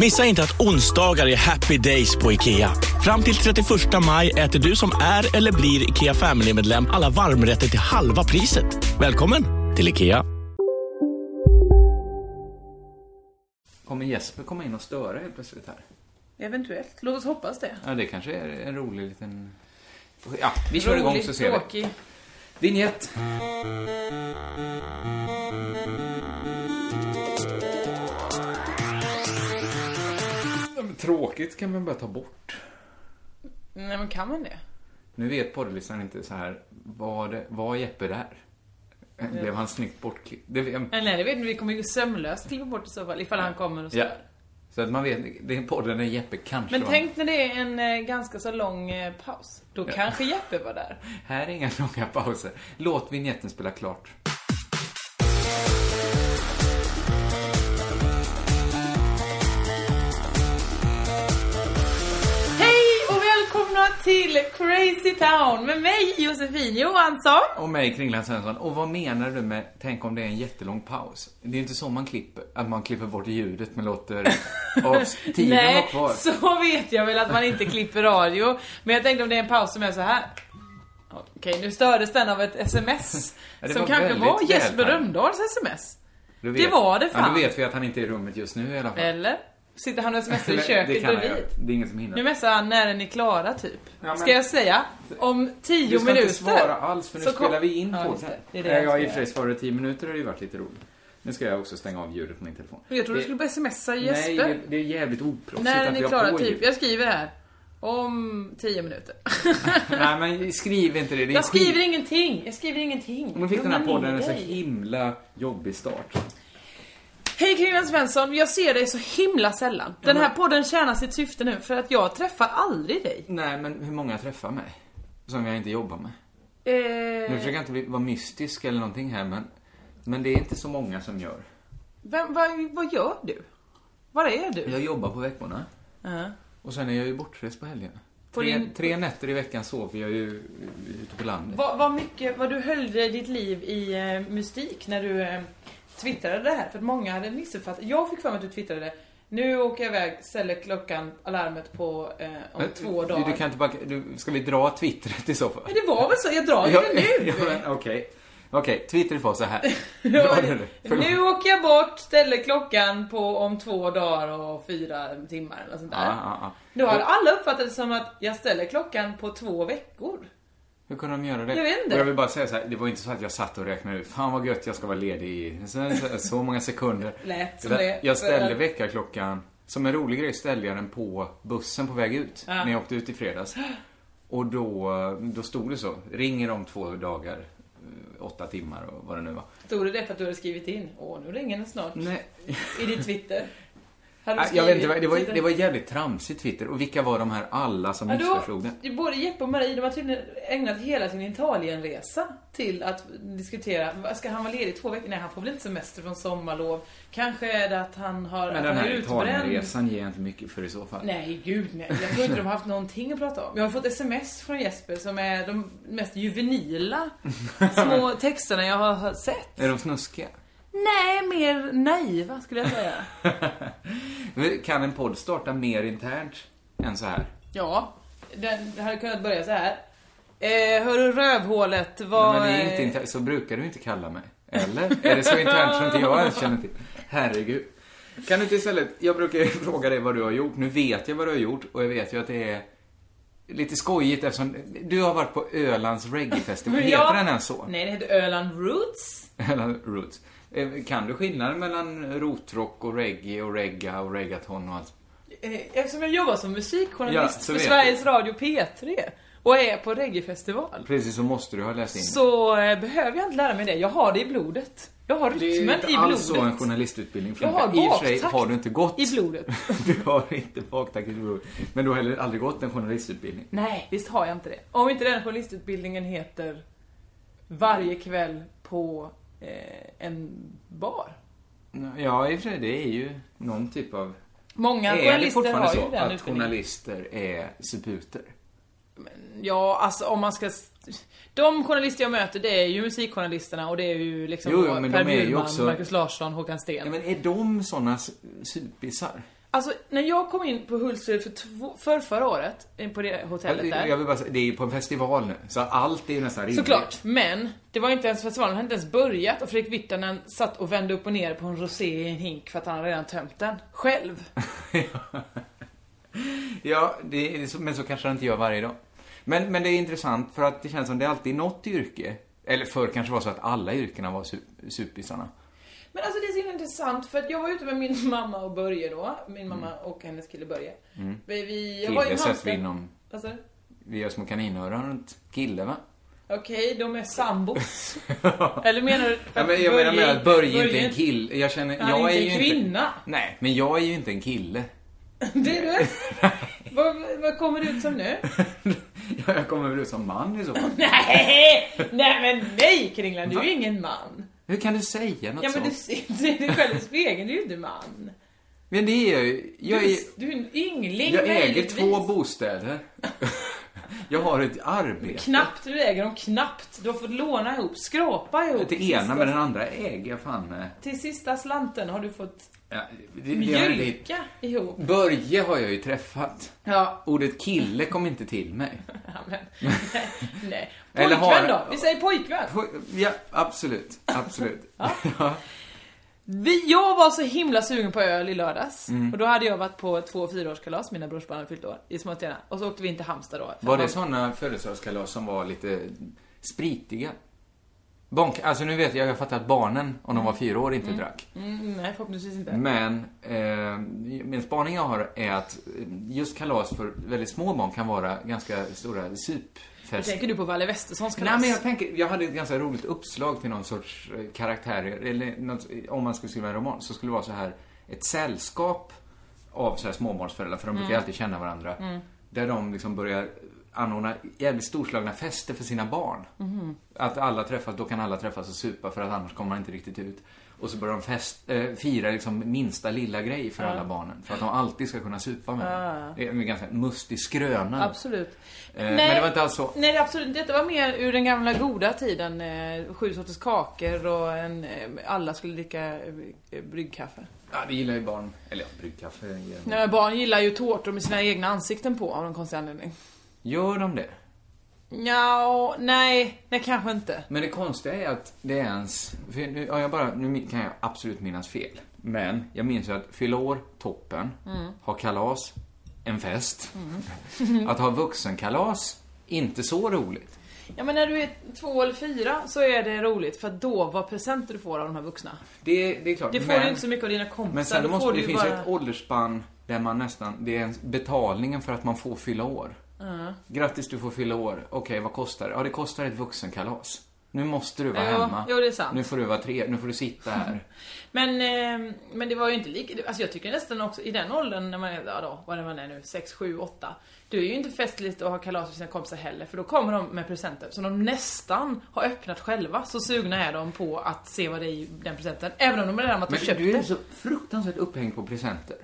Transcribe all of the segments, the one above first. Missa inte att onsdagar är happy days på IKEA. Fram till 31 maj äter du som är eller blir IKEA Family-medlem alla varmrätter till halva priset. Välkommen till IKEA. Kommer Jesper komma in och störa helt plötsligt här? Eventuellt. Låt oss hoppas det. Ja, det kanske är en rolig liten... Ja, vi kör igång så ser vi. tråkig. Vignett. Ja, men Tråkigt kan man bara ta bort. Nej men kan man det? Nu vet poddlyssnaren inte så här, var, det, var Jeppe där? Blev han snyggt bortklippt? Det, Eller nej, det vet inte. Vi kommer ju sömlöst klippa bort i så fall ifall han kommer och så. ja. Så att man vet, det är podden där Jeppe kanske Men var- tänk när det är en eh, ganska så lång eh, paus. Då kanske Jeppe var där. Här är inga långa pauser. Låt vignetten spela klart. Hej och välkomna till Crazy Town med mig Josefin Johansson. Och mig Kringland Svensson. Och vad menar du med, tänk om det är en jättelång paus? Det är ju inte så man klipper, att man klipper bort ljudet men låter avs- tiden vara Nej, kvar. så vet jag väl att man inte klipper radio. Men jag tänkte om det är en paus som är så här. Okej, nu stördes den av ett sms. Ja, det som var kanske väldigt var Jesper vältajmat. Rönndahls sms. Du det var det Ja, fan. då vet vi att han inte är i rummet just nu i alla fall. Eller? Sitter han och smsar i Eller, köket han bredvid? göra. Det är ingen som Nu hinner. messar han när är ni klara typ. men- Ska jag säga? Om Du tio ska minuter. inte svara alls för nu så kom- spelar vi in Ja, på just det. Det är det Nej, jag jag ska i och för sig göra. svarade i tio minuter hade ju varit lite roligt. Nu ska jag också stänga av ljudet på min telefon. Men Jag trodde du skulle Det- börja smsa Nej, Jesper. det, det är jävligt oproffsigt när är att vi ni har klara på typ? ljud. Jag skriver här. Om tio minuter. Nej men skriv inte det, det är jag skit. skriver ingenting. Jag skriver ingenting. Men fick den här Lugna ner podden en så dig. himla jobbig start. Hej Kringlan Svensson, jag ser dig så himla sällan. Den här podden tjänar sitt syfte nu för att jag träffar aldrig dig. Nej, men hur många träffar mig? Som jag inte jobbar med. Nu Eh, försöker jag inte bli- vara mystisk eller någonting här, men, men det är inte så många som gör. vem, vad, vad gör du? Var är du? Jag jobbar på veckorna Ja. och sen är jag ju bortrest på helgerna. På tre, din- tre nätter i veckan sover jag ju ute på landet. Vad, vad mycket, vad du höll ditt liv i eh, mystik när du eh, twittrade det här. För att många hade missuppfattat. Jag fick för mig att du twittrade nu åker jag iväg, ställer klockan, alarmet på eh, om Men, två du- dagar. Du kan inte bara, du, ska vi dra twittret i så fall? Men det var väl så, jag drar ju det nu! Ja, men Okej, Okej, twitter får så här. Ja, Dra det nu. Förlåt. nu åker jag bort, ställer klockan på om två dagar och fyra timmar eller sånt där. Ja, ja, ja. Då har alla uppfattat det som att jag ställer klockan på två veckor. Hur kunde de göra det? Jag vet inte. Och jag vill bara säga så här, det var inte så att jag satt och räknade ut, fan vad gött jag ska vara ledig i så, så, så många sekunder. Lät som Utan det. Jag ställde För- väckarklockan, som en rolig grej ställde jag den på bussen på väg ut, Ja. när jag åkte ut i fredags. Och då, då stod det så, ringer om två dagar, eh, åtta timmar och vad det nu var. Stod det det för att du hade skrivit in? Åh, nu ringer den snart. Nej, I ditt Twitter. Hade du jag vet inte, skrivit- det var, Twitter? det var jävligt tramsigt Twitter. Och vilka var de här alla som Ja, missförstod då, det? det är både Jeppe och Marie de har tydligen ägnat hela sin Italienresa till att diskutera, vad- ska han vara ledig i två veckor? Nej han får väl inte semester från sommarlov. Kanske är det att han har... Men att den han är här utbränd. Italienresan ger jag inte mycket för i så fall. Nej gud nej, jag tror inte de har haft någonting att prata om. Jag har fått sms från Jesper som är de mest juvenila små texterna jag har sett. Är de snuskiga? Nej, mer naiva skulle jag säga. Men Kan en podd starta mer internt än så här? Ja, den hade kunnat börja så här. Eh, hörru rövhålet, vad... Nej, men det är inte internt. Så brukar du inte kalla mig. Eller? Är det så internt som inte jag ens känner till? Herregud. Kan du inte istället, jag brukar ju fråga dig vad du har gjort. Nu vet jag vad du har gjort och jag vet ju att det är lite skojigt eftersom du har varit på Ölands reggaefestival. Heter Ja. den ens så? Nej, det heter Öland Roots. Öland Roots. Eh, Kan du skillnaden mellan rotrock och reggae och regga och reggaeton och allt? Eh, Eftersom jag jobbar som Ja, musikjournalist så för vet Sveriges Radio P3 och är på reggaefestival. Precis, så måste du ha läst in. Så eh, behöver jag inte lära mig det. Jag har det i blodet. Jag har det är rytmen ju i inte blodet. alls så en journalistutbildning Jag har funkar. I och för sig baktakt har du inte gått... i blodet. du har inte baktakt i blodet. Men du har heller aldrig gått en journalistutbildning. Nej, visst har jag inte det. Om inte den journalistutbildningen heter Varje kväll på eh, en bar. Ja, i och för sig, det är ju någon typ av... Många är det journalister fortfarande har ju så den att utbildningen. journalister är suputer? Ja, alltså om man ska... s- De journalister jag möter det är ju musikjournalisterna och det är ju liksom Jo, jo, men Per de är ju Bjurman, också- Marcus Larsson, Håkan Sten. Ja, men är de sådana s- suppisar? Alltså, när jag kom in på Hultsfred för, två- för förra året, eh, på det hotellet Jag, jag där. vill bara säga, det är ju på en festival nu, så allt är ju nästan rimligt. Såklart, men det var inte ens festivalen hade inte ens börjat och Fredrik Virtanen satt och vände upp och ner på en rosé i en hink för att han hade redan tömt den. Själv. Ja, det är, så- men så kanske han inte gör varje dag. Men, men det är intressant för att det känns som det alltid är något yrke. Eller förr kanske var så att alla yrkena var su- supisarna. Men alltså det är så himla intressant för att jag var ute med min mamma och Börje då. Min mamma Mm. och hennes kille Börje. Vi, vi, jag var i Kille sätter vi Halmstad. inom... Vad sa du? Vi gör små kaninöron runt kille, va? Okej, de är sambos. Eller menar du att Ja, men jag menar med att Börje inte är en kille. Jag känner... Han är jag inte är en ju kvinna. Nej, men jag är ju inte en kille. Det är du. vad, vad kommer du ut som nu? jag kommer väl ut som man i så fall. Nej! Nej men nej Kringland, du är ju ingen man. Hur kan du säga något Ja men du sånt? ser ser dig själv i spegeln, du är ju inte man. Men det är jag ju. Jag Du är... är, du är en yngling Jag äger möjligtvis. två bostäder. Jag har ett arbete. Knappt, du äger dem knappt. Du har fått låna ihop, skrapa ihop. Det ena men den andra äger jag fan med. Till sista slanten har du fått Ja, det, det har jag inte- mjölka ihop. Börje har jag ju träffat. Ja, Ordet kille kom inte till mig. men, nej, nej. Eller Pojkvän har- då? Vi säger pojkvän. Po- Ja, absolut. Absolut. Ja. Vi, jag var så himla sugen på öl i lördags. Mm. Och då hade jag varit på två och fyraårskalas, mina brorsbarn hade fyllt år, i Småstena. Och så åkte vi in till Halmstad då. För Var att det man- sådana födelsedagskalas som var lite spritiga? Bonk, alltså nu vet jag, jag fattar att barnen, om de var fyra år, inte drack. Mm, nej, förhoppningsvis inte. Men eh, min spaning jag har är att just kalas för väldigt små barn kan vara ganska stora supfester. Tänker du på Valle Westersons kalas? Nej, men jag tänker, jag hade ett ganska roligt uppslag till någon sorts eh, karaktär, eller något, om man skulle skriva en roman, så skulle det vara så här, ett sällskap av så här småbarnsföräldrar, för de brukar ju alltid känna varandra, där de liksom börjar anordna jävligt storslagna fester för sina barn. Att alla träffas, då kan alla träffas och supa för att annars kommer man inte riktigt ut. Och så börjar de fest, eh, fira liksom minsta lilla grej för alla barnen. För att de alltid ska kunna supa med dem. Det är en ganska mustig skröna. Absolut. Eh, men det var inte alls så. Nej, det är absolut inte. Detta var mer ur den gamla goda tiden. Eh, sju sorters kakor och en, eh, alla skulle dricka eh, eh, bryggkaffe. Ja, det gillar ju barn. Eller ja, bryggkaffe. ger dem. Nej, men barn gillar ju tårtor med sina egna ansikten på av någon konstig anledning. Gör de det? Ja, nej, nej kanske inte. Men det konstiga är att det är ens... För nu, ja, jag bara, nu min- kan jag absolut minnas fel. Men jag minns ju att fylla år, toppen. Mm. Ha kalas, en fest. att ha vuxenkalas, inte så roligt. Ja men när du är två eller fyra så är det roligt för att då vad presenter du får av de här vuxna. Det, det är klart. Det får men, du inte så mycket av dina kompisar. Men sen då måste, får det du ju finns ju bara... ett åldersspann där man nästan, det är ens betalningen för att man får fylla år. Mm. Grattis, du får fylla år. Okej, vad kostar det? Ja, det kostar ett vuxenkalas. Nu måste du vara Ja, hemma. jo, det är sant. Nu får du vara tre, nu får du sitta här. Men, eh, men det var ju inte lika... Alltså jag tycker nästan också i den åldern när man är, ja då, vad är man är nu, 6, 7, 8. Då är ju inte festligt att ha kalas med sina kompisar heller för då kommer de med presenter som de nästan har öppnat själva. Så sugna är de på att se vad det är i den presenten. Även om de redan varit Men och köpt Alltså, du är det. så fruktansvärt upphängd på presenter.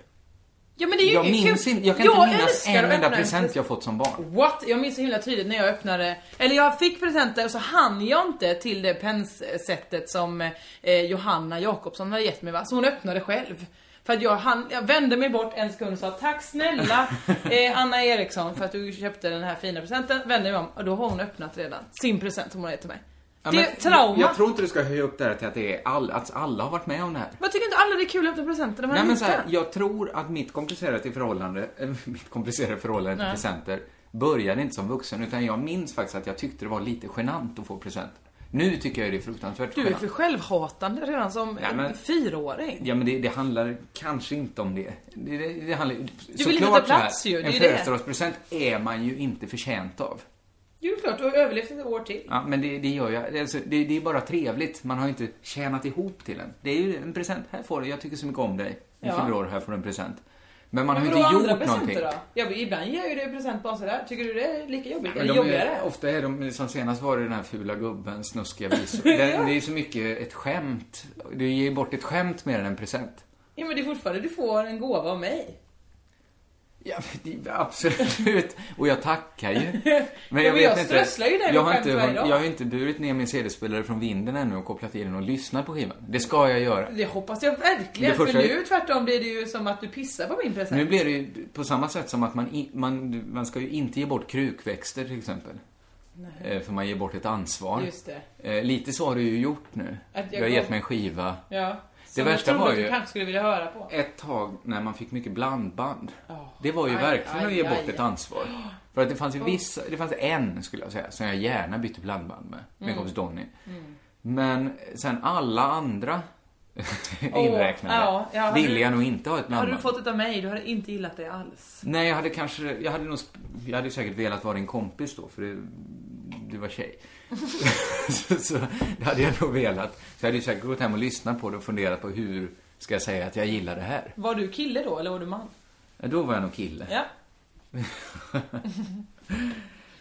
Ja men det är ju jag inget minns kul. inte, jag kan inte minnas älskar en att enda öppna present jag fått som barn. What? Jag minns så himla tydligt när jag öppnade, eller jag fick presenter och så hann jag inte till det pennsättet som eh, Johanna Jakobsson hade gett mig va, så hon öppnade själv. För att jag, hann, jag vände mig bort en sekund och sa tack snälla eh, Anna Eriksson för att du köpte den här fina presenten. Vände mig om och då har hon öppnat redan sin present som hon har gett till mig. Ja, det är men trauma. Jag tror inte du ska höja upp det här till att, det är all, att alla har varit med om det här. Men jag tycker inte alla det är kul att öppna presenter när man Nej är men så här, liten. jag tror att mitt komplicerade till förhållande, eh, mitt komplicerade förhållande till presenter började inte som vuxen utan jag minns faktiskt att jag tyckte det var lite genant att få presenter. Nu tycker jag det är fruktansvärt Du är genant. för självhatande redan som Ja, men- en fyraåring. Ja men det, det handlar kanske inte om det. Det, det, det handlar Du vill inte ta plats ju, det är En ju det. födelsedagspresent är man ju inte förtjänt av. Det är ju klart, du har överlevt ett år till. Ja, men det, det gör jag. Alltså, det, det är bara trevligt. Man har inte tjänat ihop till den. Det är ju en present. Här får du. Jag tycker så mycket om dig. Du Ja. fyller år. Här får du en present. Men man har ju Men inte då gjort andra någonting. presenter då? Ja, men ibland ger jag ju dig present bara sådär. Tycker du det är lika jobbigt? Men Eller de är, jobbigare? ofta är de, som senast var det den här fula gubben, snuskiga visor. Det, det är så mycket ett skämt. Du ger bort ett skämt mer än en present. Ja, men det är fortfarande, du får en gåva av mig. Ja, men det- absolut. Och jag tackar ju. Men men jag strösslar ju dig med jag har, skämt inte, varje dag. jag har inte burit ner min CD-spelare från vinden ännu och kopplat i den och lyssnat på skivan. Det ska jag göra. Det hoppas jag verkligen, Det första- för nu tvärtom blir det ju som att du pissar på min present. Nu blir det ju på samma sätt som att man, i, man, man ska ju inte ge bort krukväxter till exempel. Eh, För man ger bort ett ansvar. Just det. Eh, Lite så har du ju gjort nu. Att Jag jag har gett gav- mig en skiva. Ja. Det Som värsta jag var trodde att ju- du kanske skulle vilja höra på. Ett tag när man fick mycket blandband. Ja. Det var ju Aj, verkligen att aj, ge bort aj. ett ansvar. För att det fanns ju vissa, det fanns en skulle jag säga, som jag gärna bytte blandband med. Min Mm. kompis Donny. Men sen alla andra inräknade, ja, ja, har ville du- jag nog inte ha ett Har blandband. du fått ett av mig, du har inte gillat det alls. Nej, jag hade kanske, jag hade nog, sp- jag hade säkert velat vara din kompis då, för det, du var tjej. så, så det hade jag nog velat. Så jag hade ju säkert gått hem och lyssnat på det och funderat på hur ska jag säga att jag gillar det här. Var du kille då, eller var du man? Ja, då var jag nog kille. Ja.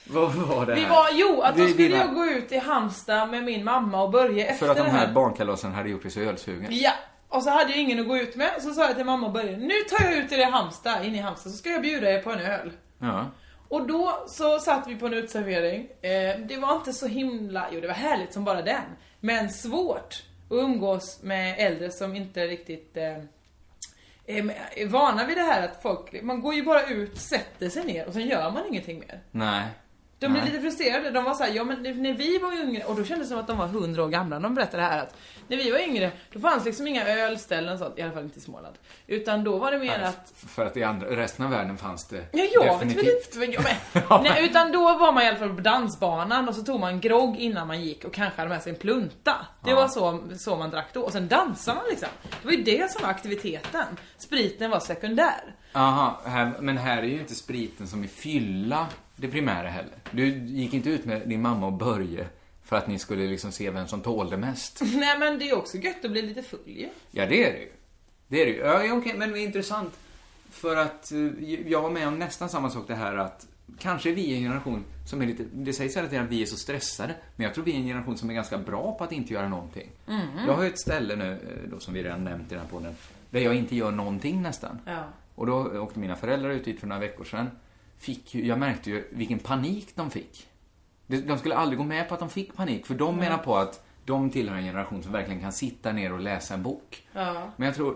Vad var det här? Vi var, jo, att då Det är skulle dina- jag gå ut i Halmstad med min mamma och börja efter För att de det här barnkalasen hade gjort dig så ölsugen. Ja, och så hade jag ingen att gå ut med. Så sa jag till mamma och Börje, nu tar jag ut er i Halmstad, in i Halmstad, så ska jag bjuda er på en öl. Ja. Och då så satt vi på en uteservering. Eh, det var inte så himla, jo det var härligt som bara den. Men svårt att umgås med äldre som inte riktigt eh, är är vana vid det här att folk, man går ju bara ut, sätter sig ner och sen gör man ingenting mer. Nej. De blev Nej. lite frustrerade, de var såhär, ja men när vi var yngre, och då kändes det som att de var 100 år gamla, de berättade det här att när vi var yngre, då fanns liksom inga ölställen och sånt, i alla fall inte i Småland. Utan då var det mer att F- För att i andra, resten av världen fanns det Ja, jag vet väl definitivt. inte. Men, jag- men, nej, utan då var man i alla fall på dansbanan och så tog man grogg innan man gick och kanske hade med sig en plunta. Det var så, så man drack då. Och sen dansade man liksom. Det var ju det som var aktiviteten. Spriten var sekundär. Aha, här, men här är ju inte spriten som är fylla det primära heller. Du gick inte ut med din mamma och Börje för att ni skulle liksom se vem som tålde mest. Nej men det är också gött att bli lite full ju. Ja, det är det ju. Det är det ju. Ja, ja, okej, men det är intressant. För att eh, jag var med om nästan samma sak det här att kanske är vi är en generation som är lite, det sägs hela tiden att vi är så stressade, men jag tror vi är en generation som är ganska bra på att inte göra någonting. Jag har ju ett ställe nu, eh, då, som vi redan nämnt i den här podden, där jag inte gör någonting nästan. Ja. Och då åkte mina föräldrar ut dit för några veckor sedan. Fick ju, jag märkte ju vilken panik de fick. De- De skulle aldrig gå med på att de fick panik, för de menar på att de tillhör en generation som verkligen kan sitta ner och läsa en bok. Ja. Men jag tror,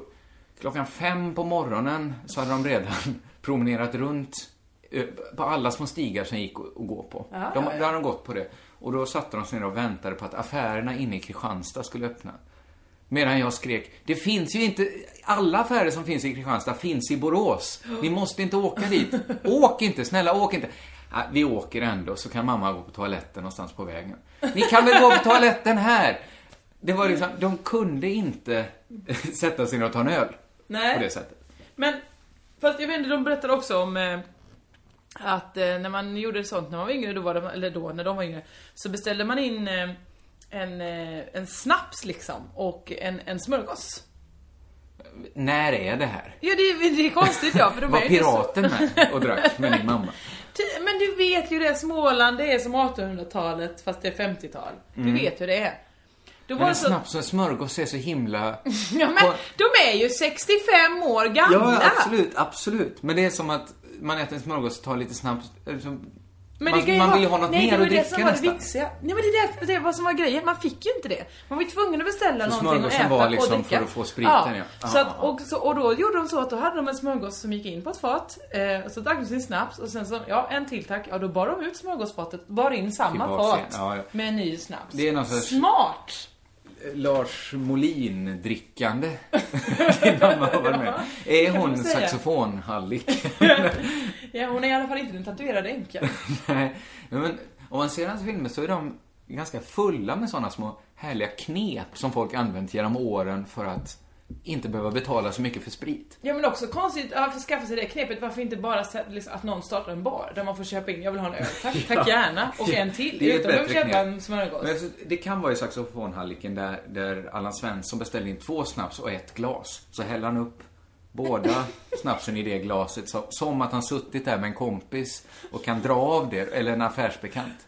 klockan fem på morgonen så hade de redan promenerat runt eh, på alla små stigar som gick att att gå på. Ja, de, ja, ja. Där hade de gått på det. Och då satte de sig ner och väntade på att affärerna inne i Kristianstad skulle öppna. Medan jag skrek, det finns ju inte, alla affärer som finns i Kristianstad finns i Borås. Ni måste inte åka dit. Åk inte, snälla åk inte. "Ah, Vi åker ändå, så kan mamma gå på toaletten någonstans på vägen. Ni kan väl gå på toaletten här? Det var liksom, de kunde inte sätta sig ner och ta en öl. Nej. På det sättet. Men, fast jag vet inte, de berättade också om eh, att eh, när man gjorde sånt när man var yngre, då var de, eller då när de var yngre, så beställde man in eh, en, eh, en snaps liksom och en, en smörgås. När är det här? Ja det, är- det är konstigt ja, för de Var är ju så... piraten med och drack med din mamma? Ty- Men du vet ju det, Småland det är som 1800-talet fast det är 50-tal. Du vet hur det är. Då var Men det en så... Mm. snaps och en smörgås är så himla... Ja, men, de är ju 65 år gamla! Ja, absolut, absolut. Men det är som att man äter en smörgås och tar lite snabbt... Liksom, Men man det kan ju man vara- vill ju ha något Nej, mer det att var det dricka som var det nästan. vitsiga. Nej men det är därför- det var som var grejen, man fick ju inte det. Man var ju tvungen att beställa Så någonting och smörgåsen äta var liksom och dricka. för att få spriten, ja. Så Ja, att, ja. och, så, och då gjorde de så att då hade de en smörgås som gick in på ett fat, eh, och så drack de sin snaps och sen så, ja en till tack, ja då bar de ut smörgåsfatet, bar in samma Tillbaks fat igen, ja, ja. med en ny snaps. Det är någon sorts- Smart! Eh, Lars Molin-drickande. Din mamma har varit med. Är kan man hon säga. saxofonhallig? Ja, hon är i alla fall inte den tatuerade änkan. Nej, men om man ser hans filmer så är de ganska fulla med sådana små härliga knep som folk använt genom åren för att inte behöva betala så mycket för sprit. Ja men också konstigt, ja, för skaffa sig det knepet, varför inte bara sä- liksom, att någon startar en bar där man får köpa in, jag vill ha en öl, tack, tack gärna, och en till, Det är ett utan att bättre köpa knep. en smörgås. Men så- det kan vara i saxofonhalliken där, där Allan Svensson beställde in två snaps och ett glas. Så häller han upp båda snapsen i det glaset så, som att han suttit där med en kompis och kan dra av det, eller en affärsbekant.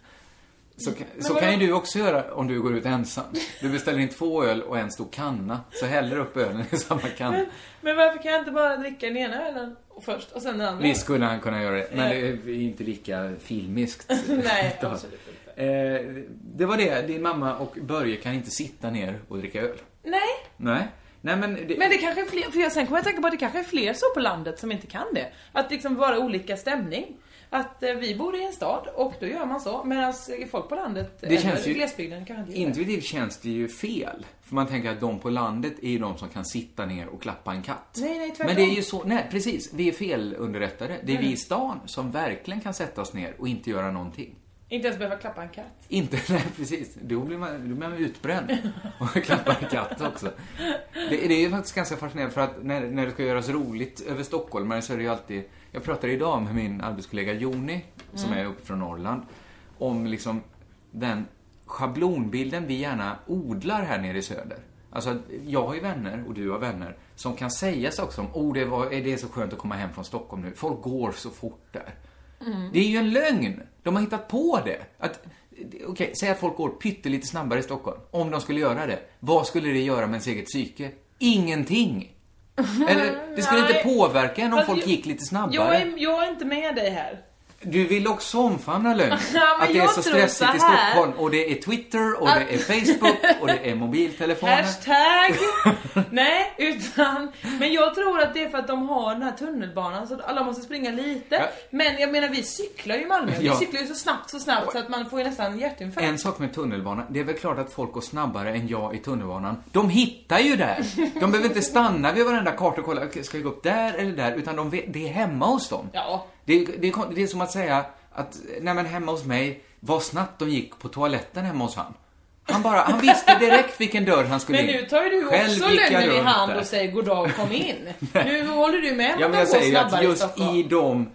Så, kan- så vadå? kan ju du också göra om du går ut ensam. Du beställer in två öl och en stor kanna, så häller upp ölen i samma kanna. Men varför kan jag inte bara dricka den ena ölen först och sen den andra? Visst skulle han kunna göra det, men det är ju inte lika filmiskt. Eh. Nej, absolut inte. Eh, det var det. Din mamma och Börje kan inte sitta ner och dricka öl. Nej, Nej. Nej men... Det, men det kanske är fler, för jag, sen kommer jag att tänka på att det kanske är fler så på landet som inte kan det. Att liksom vara olika stämning. Att eh, vi bor i en stad och då gör man så, medan folk på landet, det känns ju- glesbygden kanske inte gör det. Intuitivt känns det ju fel. För man tänker att de på landet är ju de som kan sitta ner och klappa en katt. Nej, nej, tvärtom. Mm. Men det är ju så, nej precis, vi är felunderrättade. Det är vi i stan som verkligen kan sätta oss ner och inte göra någonting. Inte ens behöva klappa en katt. Inte, nej precis. Då blir man, då blir man utbränd. Och klappar en katt också. Det, det är ju faktiskt ganska fascinerande för att när, när det ska göras roligt över stockholmare så är det ju alltid... Jag pratade idag med min arbetskollega Joni, som är uppe från Norrland, om liksom den schablonbilden vi gärna odlar här nere i söder. Alltså, jag har ju vänner och du har vänner som kan säga saker som oh, det, var, det är så skönt att komma hem från Stockholm nu. Folk går så fort där. Mm. Det är ju en lögn! De har hittat på det. Att, okej, säg att folk går pyttelite snabbare i Stockholm. Om de skulle göra det, vad skulle det göra med ens eget psyke? Ingenting! Eller, det skulle inte Nej. påverka en om Fast folk jag- gick lite Jag snabbare. är, jag är inte med dig här. Du vill också omfamna lögnen. Ja, men Att det är jag så tror stressigt så i här. Stockholm och det är Twitter och det är Facebook och det är mobiltelefoner. Hashtag! Nej, utan... Men jag tror att det är för att de har den här tunnelbanan så att alla måste springa lite. Ja. Men jag menar, vi cyklar ju i Malmö. Vi Ja. cyklar ju så snabbt, så snabbt så att man får ju nästan hjärtinfarkt. En sak med tunnelbanan, det är väl klart att folk går snabbare än jag i tunnelbanan. De hittar ju där! De behöver inte stanna vid varenda karta och kolla, "Okej, ska jag gå upp där eller där? Utan de vet, det är hemma hos dem. Ja. Det, är- det, är, kon- det är som att säga att, nej men hemma hos mig, vad snabbt de gick på toaletten hemma hos han. Han bara, han visste direkt vilken dörr han skulle Men in. nu tar ju du Själv också gick jag lögnen i runt hand där. och säger goddag, kom in. nu håller du med om Ja men att de går jag säger ju att snabbare i just Stockholm. i de...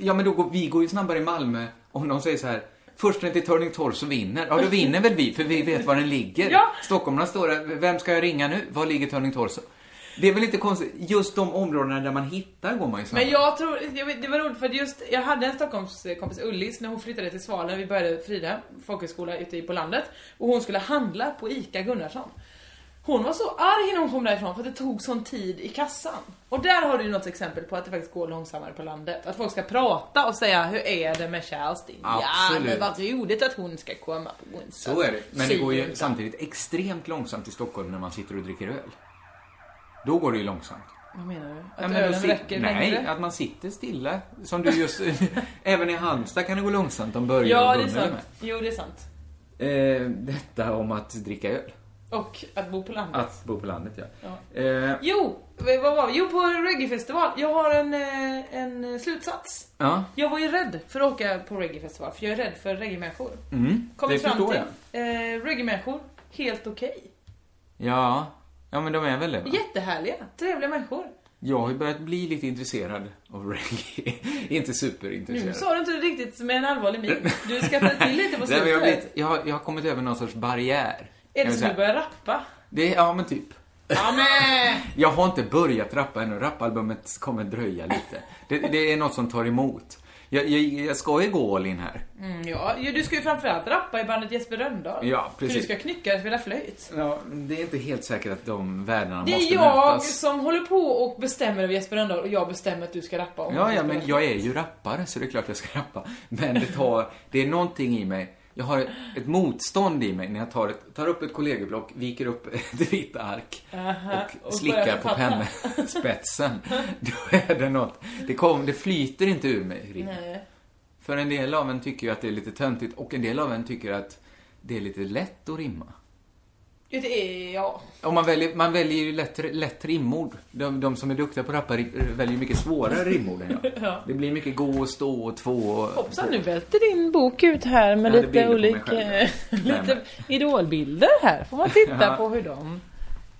Ja men då går, vi går ju snabbare i Malmö om de säger så här. Först till Turning Torp så vinner. Ja, då vinner väl vi, för vi vet var den ligger. Ja. Stockholmarna står där, vem ska jag ringa nu? Var ligger Turning Torso? Det är väl inte konstigt, just de områdena där man hittar går man ju snabbare. Men jag tror, jag vet, det var roligt för att just, jag hade en Stockholmskompis Ullis när hon flyttade till Svalöv, vi började Frida folkhögskola ute på landet och hon skulle handla på ICA Gunnarsson. Hon var så arg när hon kom därifrån för att det tog sån tid i kassan. Och där har du ju något exempel på att det faktiskt går långsammare på landet. Att folk ska prata och säga hur är det med Kerstin? Ja Absolut. men vad roligt att hon ska komma på onsdag. Så är det. Men det går ju Synd. samtidigt extremt långsamt i Stockholm när man sitter och dricker öl. Då går det ju långsamt. Vad menar du? Att Ja, men då ölen sit- räcker Nej, längre? att man sitter stilla. Som du just... även i Halmstad kan det gå långsamt om Börje Ja och det är Gunnel är med. sant. Jo det är sant. Eh, detta om att dricka öl. Och att bo på landet. Att bo på landet, ja. Eh, Jo, vad var vi? Jo, på reggaefestival. Jag har en, eh, en slutsats. ja. Jag var ju rädd för att åka på reggaefestival, för jag är rädd för reggae-människor. Mm, det förstår jag. Eh, reggae-människor, helt okej. ja. Ja, men de är väl det, va? Jättehärliga, trevliga människor. Jag har ju börjat bli lite intresserad av reggae. Inte Nu superintresserad. sa du inte det riktigt med en allvarlig min. Du skrattade till lite på Nej, men slutet. jag, har blivit, jag, har, jag har kommit över någon sorts barriär. Är kan jag det som säga. du börjar rappa? det, Ja, men typ. Ja, men. Jag har inte börjat rappa ännu. Rappalbumet kommer dröja lite. Det, det är något som tar emot. Jag, jag, jag ska ju gå all in här. Mm, ja, ju, du ska ju framförallt rappa i bandet Jesper Rönndahl. Ja, precis. För du ska knycka och spela flöjt. Ja, det är inte helt säkert att de världarna Det måste är jag mötas. som håller på och bestämmer över Jesper Rönndahl och jag bestämmer att du ska rappa om Ja, ja, Jesper men Rönndahl. jag är ju rappare så det är klart jag ska rappa. Men det tar, det är någonting i mig. Jag har ett motstånd i mig när jag tar, ett, tar upp ett kollegieblock, viker upp ett vitt ark Aha, och, och slickar börjar på författa. pennspetsen. Då är det något. Det, kom, det flyter inte ur mig. Rin. Nej. För en del av en tycker ju att det är lite töntigt och en del av en tycker att det är lite lätt att rimma. Ja, det är jag. Om man, väljer, man väljer ju lätt, lätt rimord. De, de som är duktiga på att rappa ri- väljer mycket svårare rimord än jag. Ja. Det blir mycket gå och stå och två och... Hoppsan, nu välter din bok ut här med Ja, det är lite bilder på mig olika själv. Nej, lite idolbilder här. Får man titta Ja. på hur de,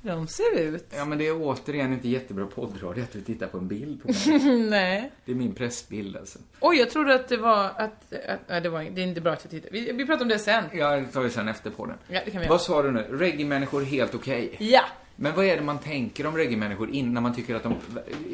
de ser ut. Ja, men det är återigen inte jättebra poddradio att vi tittar på en bild på mig. Nej. Det är min pressbild alltså. Oj, jag trodde att det var att... att nej, det, var, det är inte bra att jag tittar. Vi, vi pratar om det sen. Jag tar ju sen efter på den. Ja, det kan vi göra. Vad sa du nu? Reggae-människor helt okej? Ja. Men vad är det man tänker om reggae-människor innan man tycker att de...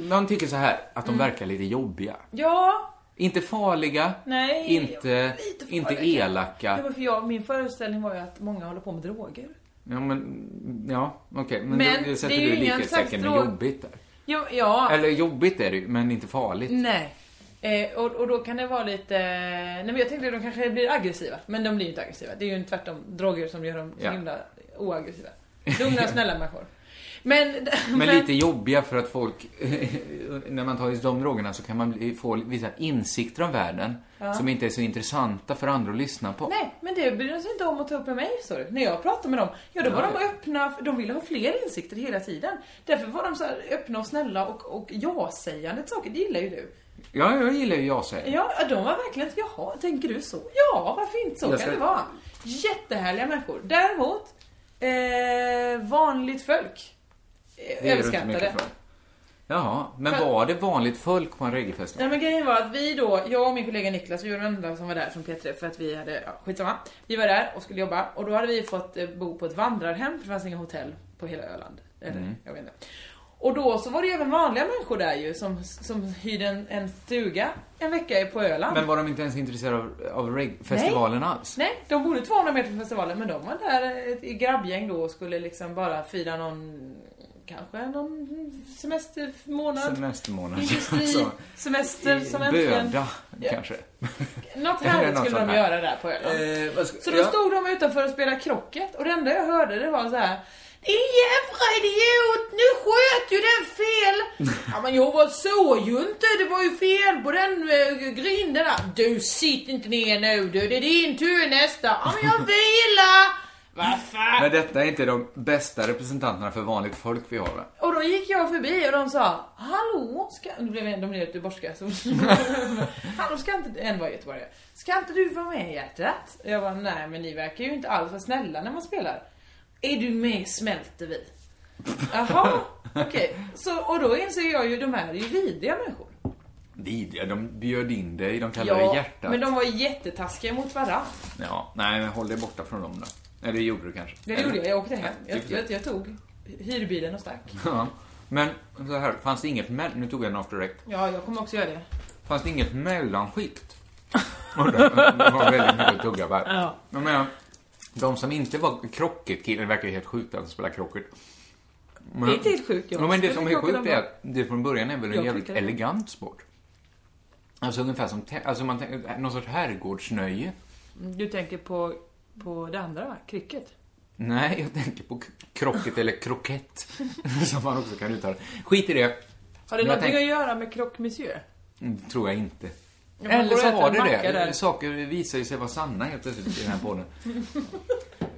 Man tycker så här, att Mm. de verkar lite jobbiga. Ja. Inte farliga, Nej. inte, lite farliga. inte ja elaka. men för jag, min föreställning var ju att många håller på med droger. Ja, men... Ja, okej. Men, Men då, då sätter det är ju du ingen likhetstecken med slags drog- jobbigt där. Ja. ja. Eller jobbigt är det ju, men inte farligt. Nej. Eh, och, och då kan det vara lite... Nej men jag tänkte att de kanske blir aggressiva. Men de blir ju inte aggressiva. Det är ju tvärtom droger som gör dem så Ja. himla oaggressiva. Lugna och snälla människor. Men... Men, lite jobbiga för att folk, när man tar just de drogerna så kan man bli, få vissa insikter om världen som inte är så intressanta för andra att lyssna på. Nej, men det bryr de sig inte om att ta upp med mig, så du. När jag pratade med dem, ja då var de öppna, för de ville ha fler insikter hela tiden. Därför var de så här öppna och snälla och, och ja-sägande till saker, det gillar ju du. Ja, jag gillar ju jag säger. Ja, de var verkligen så, jaha, tänker du så? Ja, varför inte? Så Jag kan ska- det vara. Jättehärliga människor. Däremot, eh, vanligt folk. Eh, Det är du inte överskattade. mycket för. Jaha, men För- var det vanligt folk på en reggaefestival? Nej men grejen var att vi då, jag och min kollega Niklas, vi var de enda som var där från P3 för att vi hade, ja, skitsamma. Vi var där och skulle jobba och då hade vi fått eh, bo på ett vandrarhem för det fanns inga hotell på hela Öland. Eller, Mm. jag vet inte. Och då så var det ju även vanliga människor där ju som, som hyrde en, en stuga en vecka på Öland. Men var de inte ens intresserade av, av reggaefestivalen alls? Nej, de bodde 200 meter från festivalen men de var där ett grabbgäng då och skulle liksom bara fira någon, kanske någon semestermånad. Semestermånad. Industri, Så. semester som äntligen... Böda, kanske. Något Eller härligt något skulle de sånt här. göra där på Öland. Eh, vad ska- Så då ja. stod de utanför och spelade krocket och det enda jag hörde det var så här. Din jävla idiot! Nu sköt ju den fel! Ja men jag var såg ju inte, det var ju fel på den eh, grinden där. Du sitter inte ner nu du, det är din tur nästa. Ja men jag vilar! Vad fan! Men detta är inte de bästa representanterna för vanligt folk vi har va? Och då gick jag förbi och de sa Hallå, ska... Nu blev jag- de blev göteborgska så... Hallå, ska inte... En var göteborgare. Ska inte du vara med hjärtat? Jag var nej men ni verkar ju inte alls vara snälla när man spelar. Är du med smälter vi. Jaha, okej. Så Och då inser jag ju, de här är ju vidriga människor. Vidriga, de bjöd in dig, de kallade dig hjärtat. men de var jättetaskiga mot varandra. Ja, nej men håll dig borta från dem då. Eller det gjorde du kanske. Det gjorde jag, jag åkte hem. Ja, Jag, typ jag, jag tog hyrbilen och stack. Ja. Men så här, fanns det inget me- nu tog jag en off direct. Ja, jag kommer också göra det. Fanns det inget mellanskikt? Och det det var väldigt mycket tugga där. Ja. Jag menar, de som inte var krocket killen verkar ju helt sjukt att spela krocket. Men, Det är inte helt sjukt, jag Ja, men det spelar som är krocket sjukt ändå. är att det från början är väl en Jag jävligt tycker det. elegant sport. Alltså ungefär som, te- alltså man tänker, någon sorts herrgårdsnöje. Du tänker på, på det andra va? Cricket? Nej, jag tänker på k- krocket eller krokett. som man också kan uttala. Skit i det. Har det Men jag någonting tänk- att göra med croque monsieur? Mm, Tror jag inte. man går Eller och så äter har en det det. macka där. Saker visar ju sig vara sanna helt plötsligt i den här podden.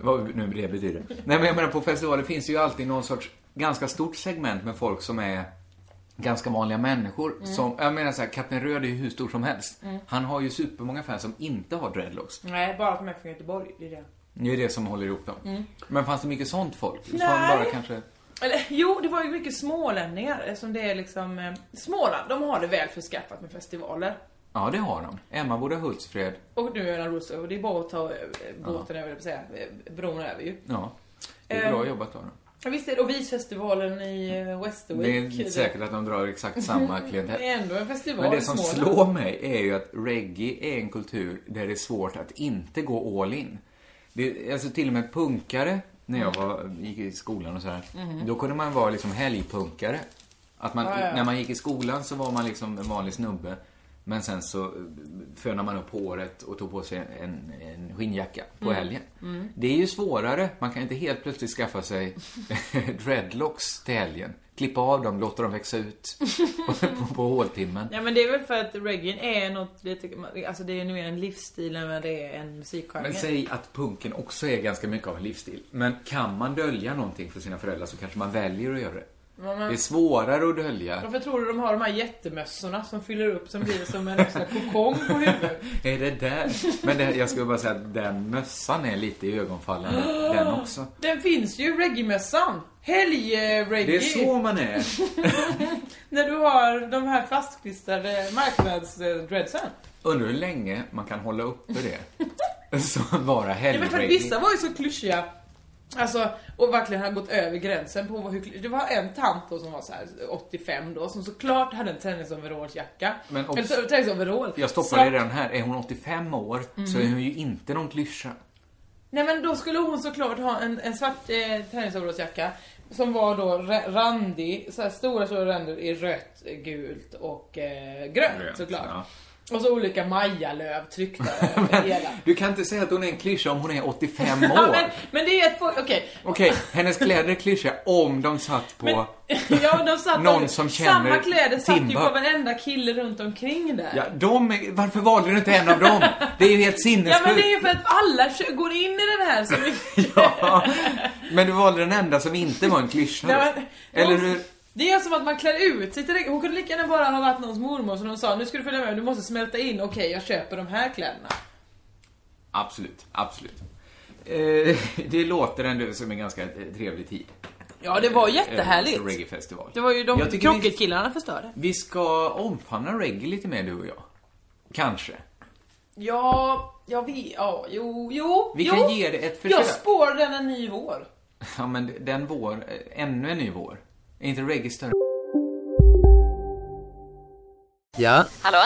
Vad nu det betyder. Nej men jag menar på festivaler finns ju alltid någon sorts ganska stort segment med folk som är ganska vanliga människor. Mm. Som, jag menar så här, Kapten Röd är ju hur stor som helst. Han har ju supermånga fans som inte har dreadlocks. Nej, bara att de är från Göteborg. Det är det. Det är ju det som håller ihop dem. Men fanns det mycket sånt folk? Som Mm. Nej. bara kanske... Eller, jo, det var ju mycket smålänningar eftersom det är liksom... Eh, Småland, de har det väl förskaffat med festivaler. Ja, det har de. Emma borde ha Hultsfred. Och nu är Öland Rosso, och det är bara att ta eh, båten över, jag säga, eh, bron över ju. Ja. Det är bra Eh, jobbat av dem. Ja, Visst är det, och visfestivalen i eh, Det Westerwick. är säkert att de drar exakt samma klientell. det är ändå en festival Men det i som Småland. slår mig är ju att reggae är en kultur där det är svårt att inte gå all in. Det, alltså till och med punkare, när jag var, gick i skolan och sådär, då kunde man vara liksom helgpunkare. Att man, Mhm. Ja, ja. när man gick i skolan så var man liksom en vanlig snubbe. Men sen så eh, fönade man upp håret och tog på sig en, en skinnjacka på Mm. helgen. Det är ju svårare. Man kan inte helt plötsligt skaffa sig dreadlocks till helgen. Klippa av dem, låta dem växa ut på, på, på håltimmen. Ja men det är väl för att reggae är något, lite, alltså det är ju mer en livsstil än vad det är en musikgenre. Men säg att punken också är ganska mycket av en livsstil. Men kan man dölja någonting för sina föräldrar så kanske man väljer att göra det. Det är svårare att dölja. Varför tror du de har de här jättemössorna som fyller upp som blir som en sån här kokong på huvudet? Är det där? Men det, jag skulle bara säga att den mössan är lite i ögonfallande, den också. Den finns ju, reggae-mössan! Helg-reggae! Det är så man är. När du har de här fastklistrade marknadsdreadsen. Undrar hur länge man kan hålla uppe det. Som bara Ja, men för att helgregg. vissa var ju så klyschiga. Alltså, och verkligen hade gått över gränsen på vad hur kly- Det var en tant då som var så här 85 då, som såklart hade en tennisoverallsjacka. Men obs- Eller så- tennisoverall. Jag Så- Mm. stoppar i den här. Är hon 85 år så är hon ju inte någon klyscha. Nej men då skulle hon såklart ha en, en svart eh, träningsoverallsjacka som var då ra- randig, så här stora stora ränder i rött, eh, gult och eh, grönt Grönt, såklart. ja. Och så olika majalöv tryckta över hela. Du kan inte säga att hon är en klyscha om hon är 85 Ja, år. men, men det är ett po- okej. Okej, hennes kläder är klyschiga om de satt på... ja, de satt Någon som känner Samma kläder satt ju Timba. på varenda kille runt omkring där. Ja, de är... Varför valde du inte en av dem? Det är ju helt Ja, sinnessjukt. men det är ju för att alla kö- går in i den här så mycket. Ja, men du valde den enda som inte var en klyscha. då. Ja, men- Eller hon- hur? Det är som att man klär ut sig till det. Hon kunde lika gärna bara ha varit någons mormor som de sa Nu ska du följa med, du måste smälta in. Okej, jag köper de här kläderna. Absolut, absolut. Eh, det låter ändå som en ganska trevlig tid. Ja, det var Eh, jättehärligt. Reggae-festival. Det var ju de Jag tycker vi- krocket-killarna förstörde. Vi ska omfamna reggae lite mer, du och jag. Kanske. Ja, jag vet. Ja, jo, jo. Vi jo. kan ge det ett försök. Jag spår den en ny vår. Ja, men den vår, eh, ännu en ny vår. Är inte reggae större? Ja, Hallå?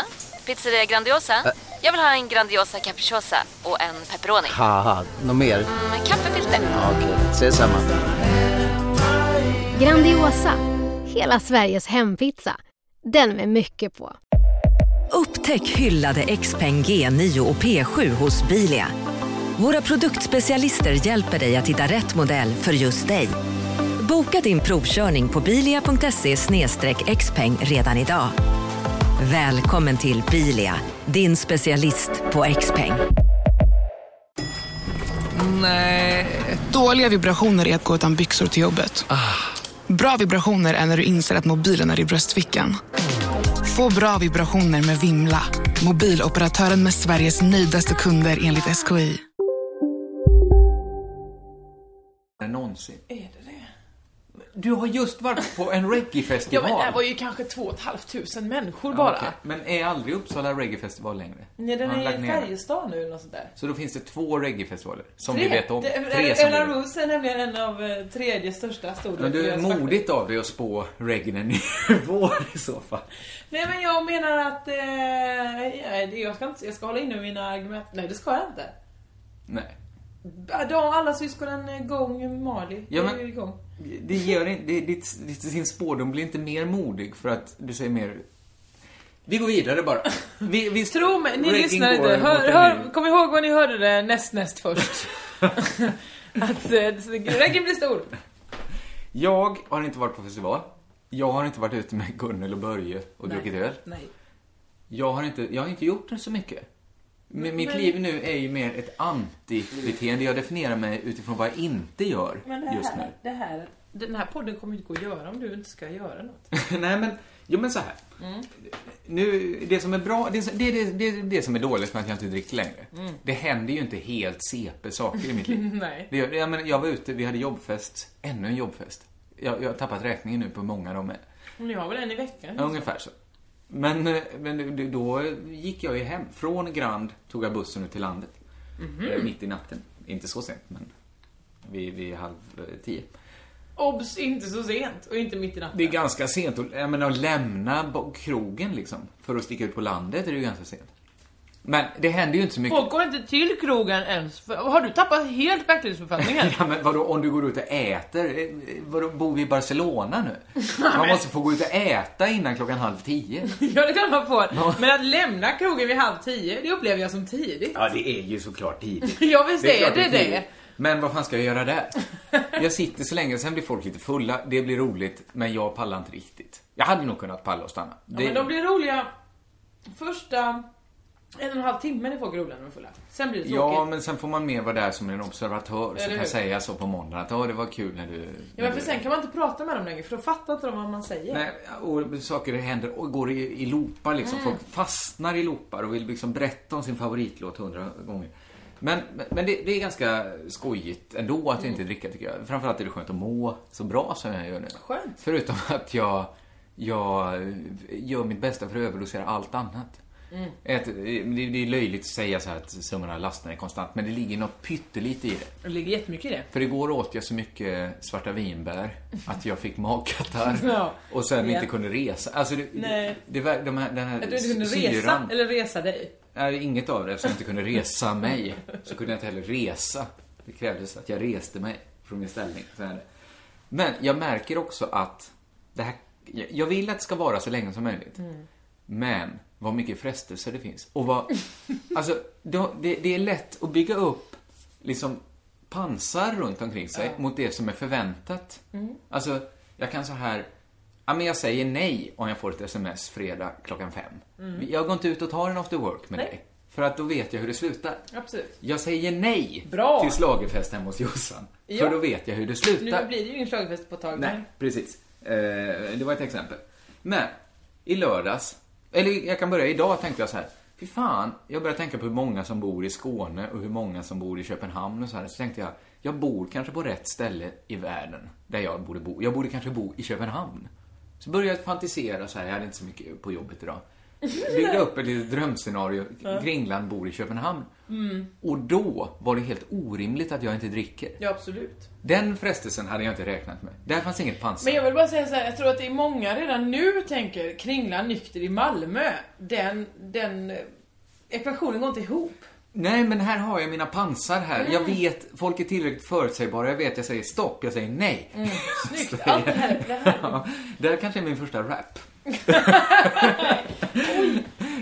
Pizzeria Grandiosa? Jag vill ha en Grandiosa capriciosa och en pepperoni. haha, något mer? Med kaffefilter. Ja, Okej, ses samma. Grandiosa, hela Sveriges hempizza. Den med mycket på. Upptäck hyllade XPeng G9 och P7 hos Bilia. Våra produktspecialister hjälper dig att hitta rätt modell för just dig. Boka din provkörning på bilia.se xpeng redan idag. Välkommen till Bilia, din specialist på XPeng. Nej. Dåliga vibrationer är att gå utan byxor till jobbet. Bra vibrationer är när du inser att mobilen är i bröstfickan. Få bra vibrationer med Vimla. Mobiloperatören med Sveriges nöjdaste kunder enligt SKI. än någonsin. Är det det? Du har just varit på en Ja, reggae-festival. men det här var ju kanske två och ett halvt tusen människor bara. Okej, Men är aldrig Uppsala reggae-festival längre? Nej, den Har de är lagt i ner den? Färjestad nu eller något sånt där. Så då finns det två reggae-festivaler som vi vet om. Det- Tre som vi Ella vet. om. Rose är nämligen en av eh, tredje största storleken. Men du är Deras modigt av dig att spå reggae en ny vår i så fall. Nej men jag menar att eh, ja, det- jag, ska inte, jag ska hålla inne mina argument. Nej det ska jag inte. Äh, Nej. Då har alla syskonen eh, gång Mali. Ja, Det är men- ju igång. Det gör inte, det, ditt, ditt, din spådom blir inte mer modig för att du säger mer... Vi går vidare bara. Vi, vi, Tro mig, ni reggae lyssnar inte. går mot Hör, en hör, ny- kom ihåg vad ni hörde det näst näst först. att eh, reggae blir stor. Jag har inte varit på festival. Jag har inte varit ute med Gunnel och Börje och druckit öl. Nej. Jag har inte, jag har inte gjort det så mycket. Men, mitt Men- liv nu är ju mer ett antibeteende. Jag definierar mig utifrån vad jag inte gör Men det här, just nu. det här, den här podden kommer inte gå att göra om du inte ska göra något. Nej men, jo men så här. Mm. Nu, det som är bra, det, som- det, det, det, det som är dåligt med att jag inte dricker längre. Mm. Det händer ju inte helt CP-saker i mitt liv. Nej. Det, gör- jag, menar, jag var ute, vi hade jobbfest, ännu en jobbfest. Jag, jag har tappat räkningen nu på hur många de är. Men jag har väl en i veckan. Ja, ungefär så. Men, eh, men det- det- då gick jag ju hem. Från Grand tog jag bussen ut till landet. Mhm. Eh, Mitt i natten. Inte så sent, men vid, vid halv eh, tio. Obs, inte så sent och inte mitt i natten. Det är ganska sent. Och, jag menar, att lämna bo- krogen liksom, för att sticka ut på landet är det ju ganska sent. Men det händer ju inte så mycket. Folk går inte till krogen ens. För, har du tappat helt verklighetsuppfattningen? Ja, men vadå, om du går ut och äter? Eh, Vadå, bor vi i Barcelona nu? Man måste få gå ut och äta innan klockan halv tio. ja, det kan man få. Ja. Men att lämna krogen vid halv tio, det upplever jag som tidigt. Ja, det är ju såklart tidigt. Ja, visst är klart det det. tidigt. Men vad fan ska jag göra där? Jag sitter så länge, sen blir folk lite fulla. Det blir roligt, men jag pallar inte riktigt. Jag hade nog kunnat palla och stanna. Ja, men de blir roliga första en och en halv timme när folk är roliga när de är fulla. Sen blir det tråkigt. Ja, men sen får man mer vara där som en observatör. Eller Så kan hur? jag säga så på måndag att "Ja, det var kul när du... Ja, när men för du- sen kan man inte prata med dem längre för då fattar inte de vad man säger. Nej, och saker händer och går i, i loopar liksom. Mm. Folk fastnar i loopar och vill liksom berätta om sin favoritlåt hundra gånger. Men, men- men det, det är ganska skojigt ändå Mm. att inte dricka tycker jag. Framförallt är det skönt att må så bra som jag gör nu. Skönt. Förutom att jag, jag gör mitt bästa för att överdosera allt annat. Mm. Ett, det, det är löjligt att säga så här att summorna av lasterna är konstant, men det ligger något pyttelite i det. Det ligger jättemycket i det. För igår åt jag så mycket svarta vinbär att jag fick magkatarr Ja. och sen Ja. inte kunde resa. Alltså det, Nej. det var de här, den här Att du inte kunde syran. resa, eller resa dig. Nej, inget av det. Eftersom jag inte kunde resa mig så kunde jag inte heller resa. Det krävdes att jag reste mig från min ställning. Så här. Men jag märker också att det här, jag- jag vill att det ska vara så länge som möjligt. Mm. Men vad mycket frestelser det finns. Och vad, alltså, det, det, det är lätt att bygga upp liksom pansar runt omkring sig mot det som är förväntat. Mm. Alltså, jag kan så här, ja men jag säger nej om jag får ett sms fredag klockan fem. Mm. Jag går inte ut och tar en after work med Nej. dig. För att då vet jag hur det slutar. Absolut. Jag säger nej Bra. till schlagerfest hemma hos Jossan. Ja. För då vet jag hur det Nu slutar. blir det ju ingen schlagerfest på ett tag. Nej, precis. Eh, det var ett exempel. Men, i lördags, eller jag kan börja idag, tänkte jag så här. Fy fan, jag började tänka på hur många som bor i Skåne och hur många som bor i Köpenhamn och så här. Så tänkte jag, jag bor kanske på rätt ställe i världen där jag borde bo. Jag borde kanske bo i Köpenhamn. Så började jag fantisera så här, jag hade inte så mycket på jobbet idag. Byggde upp ett litet drömscenario, Ja. Kringland bor i Köpenhamn. Mm. Och då var det helt orimligt att jag inte dricker. Ja, absolut. Den frestelsen hade jag inte räknat med. Där fanns inget pansar. Men jag vill bara säga så här, jag tror att det är många redan nu tänker kringla nykter i Malmö. Den, den eh, ekvationen går inte ihop. Nej, men här har jag mina pansar här. Jag Mm. vet, folk är tillräckligt förutsägbara. Jag vet, jag säger stopp, jag säger nej. Mm. Snyggt. Säger- Allt det här, det här. Ja, det här kanske är min första rap.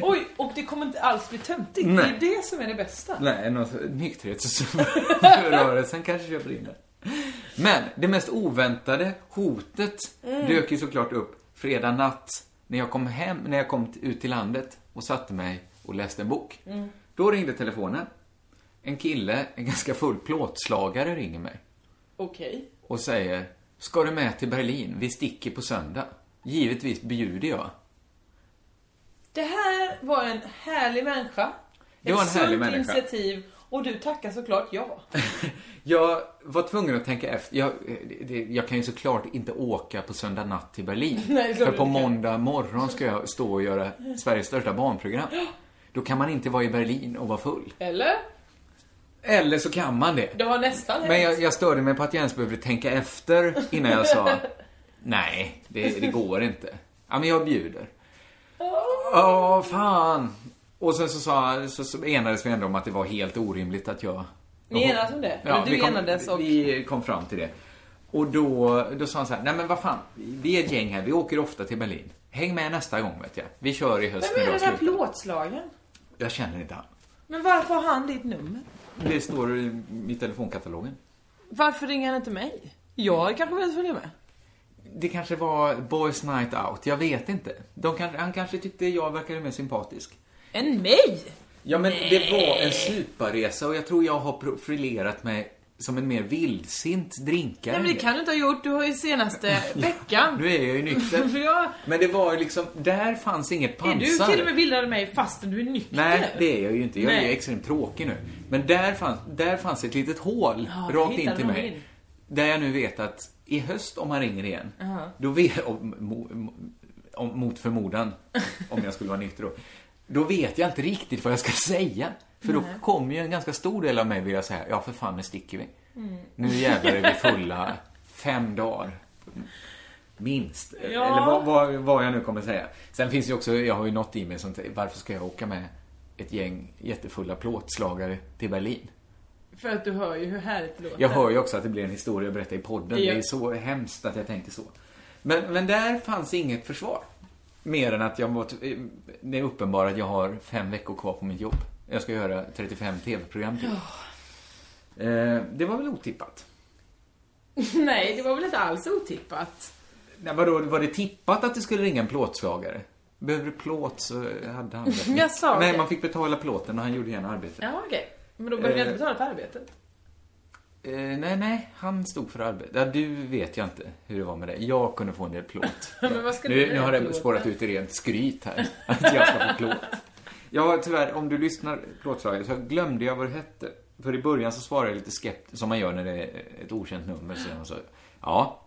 Oj, och det kommer inte alls bli töntigt. Nej. Det är det som är det bästa. Nej, något nykterhetsrörelsen kanske köper in det. Men det mest oväntade hotet Mm. dök ju såklart upp fredag natt när jag kom hem, när jag kom t- ut till landet och satte mig och läste en bok. Mm. Då ringde telefonen. En kille, en ganska full plåtslagare ringer mig. Okej. och säger Ska du med till Berlin? Vi sticker på söndag. Givetvis bjuder jag. Det här var en härlig människa. Det var en Ett härlig sunt människa. initiativ. Och du tackar såklart ja. Jag var tvungen att tänka efter. Jag, det, jag kan ju såklart inte åka på söndag natt till Berlin. Nej, det är klart för du på inte kan. måndag morgon ska jag stå och göra Sveriges största barnprogram. Då kan man inte vara i Berlin och vara full. Eller? Eller så kan man det. Det har nästan hänt. Men jag, jag störde mig på att jag ens behövde tänka efter innan jag sa Nej, det, det går inte. Ja, men jag bjuder. Ja, fan. Och sen så, sa, så, så enades vi ändå om att det var helt orimligt att jag... Ni enades om det? Eller du vi enades och- Vi kom fram till det. Och då, då sa han så här, nej men vad fan, vi är ett gäng här, vi åker ofta till Berlin. Häng med nästa gång vet jag. Vi kör i höst Vem är när den du har här slut. plåtslagen? Jag känner inte han. Men varför har han ditt nummer? Det står i i telefonkatalogen. Varför ringer han inte mig? Jag kanske vill följa med? Det kanske var Boys Night Out, jag vet inte. De kanske, han kanske tyckte jag verkade mer sympatisk. Än mig? Ja, men det var en suparresa och jag tror jag har profilerat mig som en mer vildsint drinkare. Nej men det kan du inte ha gjort, du har ju senaste veckan. Nu är jag ju För nykter. jag, Men det var ju liksom, där fanns inget är pansar. du till och med vildare än mig fastän du är nykter? Nej, det är jag ju inte. Jag är Nej. ju extremt tråkig nu. Men där fanns, där fanns ett litet hål Ja, där rakt in hittade till de mig. in. Där jag nu vet att i höst om han ringer igen, Jaha. då vet, om, mo- om, mot förmodan, om jag skulle vara nykter då, då vet jag inte riktigt vad jag ska säga. För då Nej. kommer ju en ganska stor del av mig vilja säga, ja för fan nu sticker vi. Mm. Nu jävlar är vi fulla fem dagar. Minst. Ja. Eller vad, vad, vad jag nu kommer säga. Sen finns ju också, jag har ju något i mig som säger, varför ska jag åka med ett gäng jättefulla plåtslagare till Berlin. För att du hör ju hur härligt det låter. Jag hör ju också att det blir en historia att berätta i podden. Ja. Det är så hemskt att jag tänkte så. Men, men där fanns inget försvar. Mer än att jag var, det är uppenbart att jag har fem veckor kvar på mitt jobb. Jag ska göra 35 TV-program till. Eh, det var väl otippat? Nej, det var väl inte alls otippat. Nej, vadå, var det tippat att det skulle ringa en plåtslagare? Behöver du plåt så hade han det. Jag sa Nej, det. man fick betala plåten och han gjorde gärna arbetet. Ja, okej. Men då behöver jag Eh. inte betala för arbetet. Eh, nej, nej, han stod för arbetet. Ja, du vet jag inte hur det var med det. Jag kunde få en del plåt. Men vad ska du nu, med nu har det plåten? spårat ut i rent skryt här. Att jag ska få plåt. Ja, tyvärr, om du lyssnar plåtslagare så glömde jag vad det hette. För i början så svarade jag lite skeptiskt, som man gör när det är ett okänt nummer. Så jag sa, ja.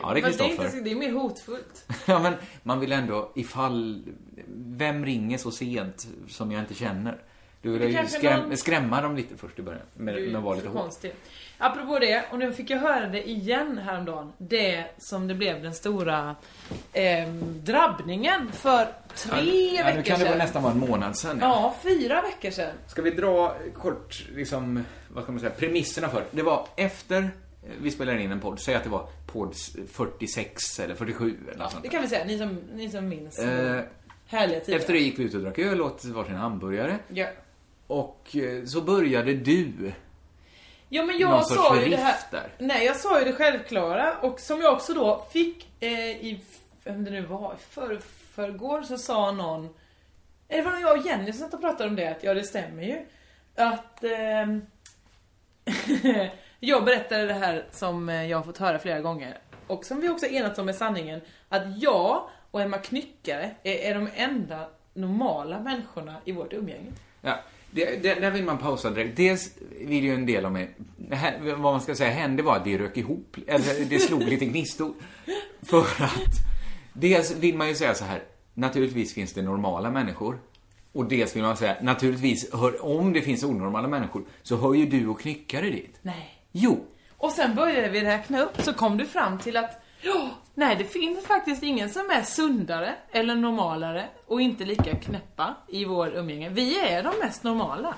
Ja, det är Fast det, är inte, Kristoffer. så- det är mer hotfullt. Ja, men man vill ändå, ifall... Vem ringer så sent som jag inte känner? Du Det vill ju kanske skräm, någon- skrämma dem lite först i början. Med, Du med att vara är lite för hård. konstig. Apropå det, och nu fick jag höra det igen häromdagen. Det som det blev den stora eh, drabbningen för tre Ja, nu veckor kan det sedan. väl nästan vara en månad sedan. Ja, fyra veckor sedan. Ska vi dra kort, liksom, vad ska man säga, premisserna för det? var efter eh, vi spelade in en podd, säg att det var podd 46 eller 47 eller något sånt. Det kan vi säga, ni som, ni som minns. Eh, härliga tider. efter det gick vi ut och drack öl och åt varsin hamburgare. Ja. Och eh, så började du. Ja men jag Någon sorts sa ju det här, riff där. nej jag sa ju det självklara och som jag också då fick eh, i, vem det nu var, i för, förrgår så sa någon, eller var det jag och Jenny som satt och pratade om det, att ja det stämmer ju. Att ehm, jag berättade det här som eh, jag har fått höra flera gånger och som vi också enats om är sanningen, att jag och Emma Knyckare är, är de enda normala människorna i vårt umgänge. Ja, det, det, där vill man pausa direkt. Dels vill ju en del av mig... det här- Vad man ska säga hände var att det rök ihop. Eller det slog lite gnistor. För att... Dels vill man ju säga så här. Naturligtvis finns det normala människor. Och dels vill man säga, naturligtvis, hör, om det finns onormala människor så hör ju du och knyckare dit. Nej. Jo, Och sen började vi räkna upp så kom du fram till att ja, nej det finns faktiskt ingen som är sundare eller normalare och inte lika knäppa i vår umgänge. Vi är de mest normala.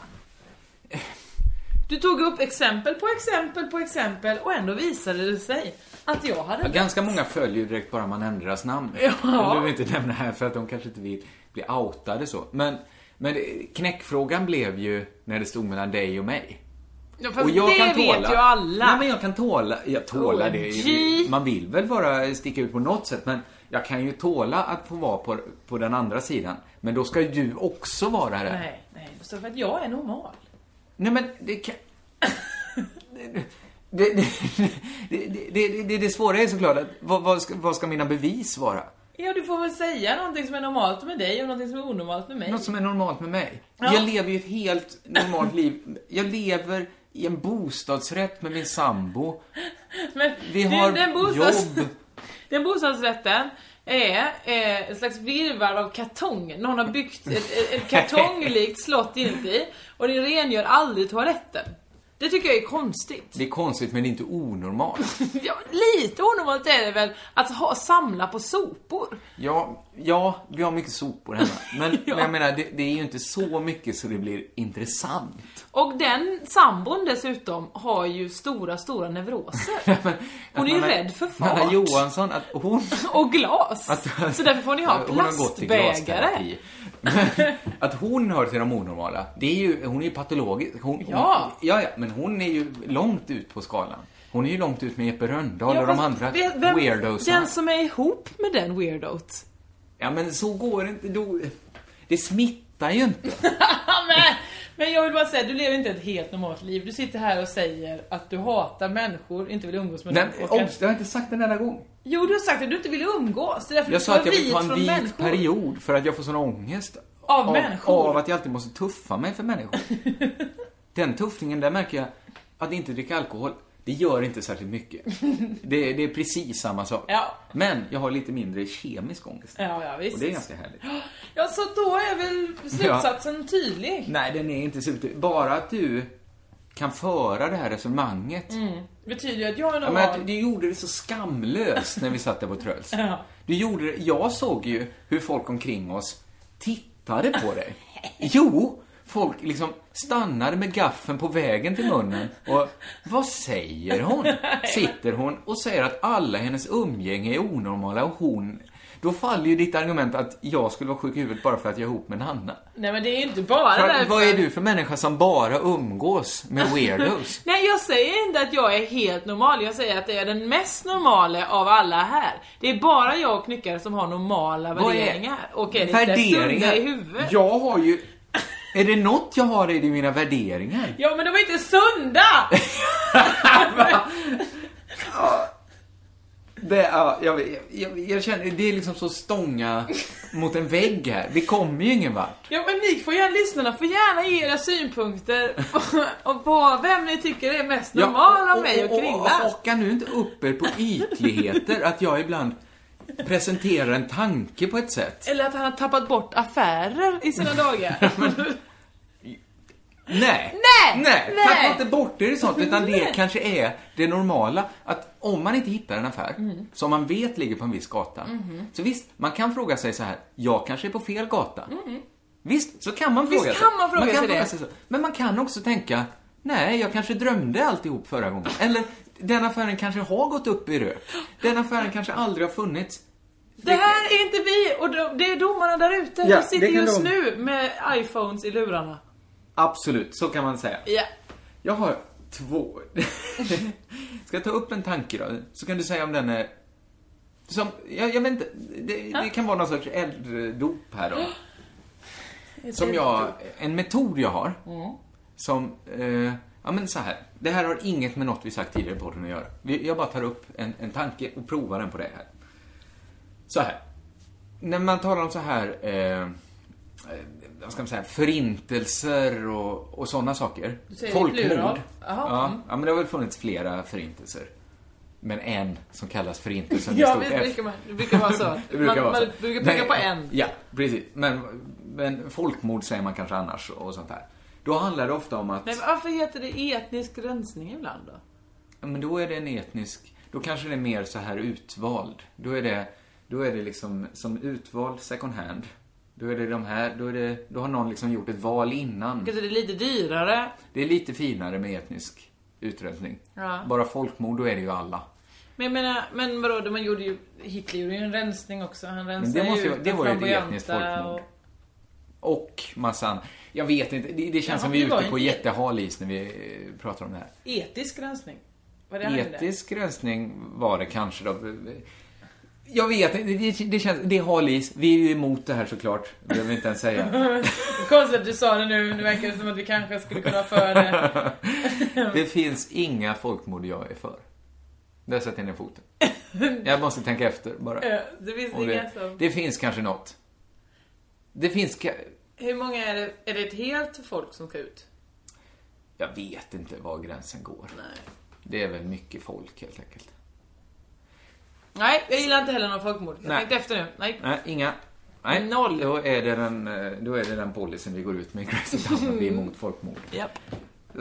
Du tog upp exempel på exempel på exempel och ändå visade det sig att jag hade Ja, rätt. ganska många följer ju direkt bara man nämner deras namn. Ja. Jag behöver inte nämna här för att de kanske inte vill bli outade så. Men, men det- knäckfrågan blev ju när det stod mellan dig och mig. Ja, fast det vet ju alla. Oh, Nej, men jag kan tåla... Jag tålar det OMG. ju. Man vill väl vara sticka ut på något sätt, men jag kan ju tåla att få vara på, på den andra sidan. Men då ska ju du också vara där. Nej, nej, det står för att jag är normal. Nej men det kan... Det, det, det, det, det, det, det svåra är såklart att vad, vad, ska, vad ska mina bevis vara? Ja, du får väl säga någonting som är normalt med dig och någonting som är onormalt med mig. Något som är normalt med mig. Ja. Jag lever ju ett helt normalt liv. Jag lever i en bostadsrätt med min sambo. Men Vi det- har den bostads... jobb. Den bostadsrätten är eh, en slags virrvarr av kartong. Någon har byggt ett, ett, ett kartonglikt slott inuti och det rengör aldrig toaletten. Det tycker jag är konstigt. Det är konstigt men det är inte onormalt. Ja, lite onormalt är det väl att ha, samla på sopor? Ja, ja, vi har mycket sopor hemma. Men, men jag menar, det, det är ju inte så mycket så det blir intressant. Och den sambon dessutom har ju stora, stora neuroser. Hon är ju Man har- rädd för Anna fart Johansson, att hon... och glas. Att- så därför får ni ha Hon har gått i plastbägare. glasterapi. Men Att hon hör till de onormala, det är ju, hon är ju patologisk. Hon, Ja. Hon, ja, ja, men hon är ju långt ut på skalan. Hon är ju långt ut med Jeppe Röndahl Ja, och de fast andra vet- vem- weirdoserna. Den som är ihop med den weirdo't. Ja, men så går det inte. Då, det smittar ju inte. Men jag vill bara säga, du lever inte ett helt normalt liv. Du sitter här och säger att du hatar människor, inte vill umgås med Nej, dem. men, och obs, jag har inte sagt en enda gång. Jo, du har sagt att du inte vill umgås. Det är därför Jag du sa ska att jag vill ta vara en från vit människor. period för att jag får sån ångest. Av människor? Av att jag alltid måste tuffa mig för människor. Den tuffningen, där märker jag att inte dricka alkohol, det gör inte särskilt mycket. Det, det är precis samma sak. Ja. Men jag har lite mindre kemisk ångest. Ja, ja, visst. Och det är ganska härligt. Ja, så då är väl slutsatsen tydlig. Nej, den är inte super... Bara att du kan föra det här resonemanget. Mm. Betyder ju att jag är Ja, normal. men att du gjorde det så skamlöst när vi satt där på Tröls. Ja. Du gjorde det, jag såg ju hur folk omkring oss tittade på dig. Jo! Folk liksom stannade med gaffen på vägen till munnen och vad säger hon? Sitter hon och säger att alla hennes umgänge är onormala och hon... Då faller ju ditt argument att jag skulle vara sjuk i huvudet bara för att jag är ihop med en Hanna. Nej men det är ju inte bara För, därför. vad är du för människa som bara umgås med weirdos? Nej jag säger inte att jag är helt normal, jag säger att jag är den mest normala av alla här. Det är bara jag och Knyckare som har normala Vad är- värderingar. Och är lite sunda i huvudet. Jag har ju... Är det något jag har i det är mina värderingar? Ja men de är inte sunda! Det, ja, jag, jag, jag känner, det är liksom så stånga mot en vägg här. Vi kommer ju ingen vart. Ja men ni får gärna, lyssnarna får gärna ge era synpunkter på, och på vem ni tycker är mest Ja, normal av mig och och, Krilla. och haka nu inte upp er på ytligheter, att jag ibland presenterar en tanke på ett sätt. Eller att han har tappat bort affärer i sina dagar. Nej! Nej! Nej! Nej! Tappa inte bort er i sånt, utan det Nej. kanske är det normala. Att om man inte hittar en affär Mm. som man vet ligger på en viss gata. Mhm. Så visst, man kan fråga sig så här, jag kanske är på fel gata. Visst, så kan man Mm-hmm. Visst fråga sig. kan man fråga kan sig det. så. Men man kan också tänka, nej, jag kanske drömde alltihop förra gången. Eller, den affären kanske har gått upp i rök. Den affären kanske aldrig har funnits. Det här är inte vi och de, det är domarna där ute. Ja, de sitter det kan just de. nu med iPhones i lurarna. Absolut, så kan man säga. Ja. Jag har två. Ska jag ta upp en tanke då? Så kan du säga om den är... Som, jag, jag vet inte, det, det kan vara någon sorts elddop här då. Som jag, en metod jag har. Mm. Som, eh, ja men så här. Det här har inget med något vi sagt tidigare på den att göra. Vi- Jag bara tar upp en, en tanke och provar den på det här. Så här. När man talar om så här, eh, eh, vad ska man säga, förintelser och, och sådana saker. Du säger Folkmord. plural. Jaha. Ja, Mm. ja, men det har väl funnits flera förintelser. Men en som kallas förintelsen med Ja, stort visst F. brukar man, det brukar vara så. att Det brukar Alltså, man, vara så. man brukar peka Nej, på en. Ja, precis. Men, men folkmord säger man kanske annars och sånt där. Då handlar det ofta om att... Men varför heter det etnisk rensning ibland då? Ja, men då är det en etnisk... Då kanske det är mer så här utvald. Då är det, då är det liksom som utvald second hand. Då är det de här, då, är det, då har någon liksom gjort ett val innan. Kanske det är lite dyrare. Det är lite finare med etnisk utrensning. Ja. Bara folkmord, då är det ju alla. Men jag menar, men vadå, de- man gjorde ju, Hitler gjorde ju en rensning också. Han Men rensade det, måste ju ju, ut det de var ju ett flamboyanta etniskt folkmord. och- Och massan. Jag vet inte, det, det känns Jaha, som vi det är var ute på en- jättehal is när vi eh, pratar om det här. Etisk rensning? Var det han gjorde? Etisk rensning var det kanske då. Jag vet inte, det, det känns, det är hal is. Vi är ju emot det här såklart. Det behöver vi inte ens säga. Konstigt att du sa det nu, det verkar som att vi kanske skulle kunna ha för eh, det. Det finns inga folkmord jag är för. Där sätter jag ner foten. Jag måste tänka efter bara. Ja, det finns Om inga som- Det finns kanske något. Det finns ka- Hur många är det? Är det ett helt folk som ska ut? Jag vet inte var gränsen går. Det är väl mycket folk helt enkelt. Nej, jag gillar inte heller någon folkmord. Jag Nej. tänkte efter nu. Nej. Nej, inga. Nej. Noll. Då är det den, eh, då är det den policyn vi går ut med i Crazy Town, att vi är emot folkmord. Japp.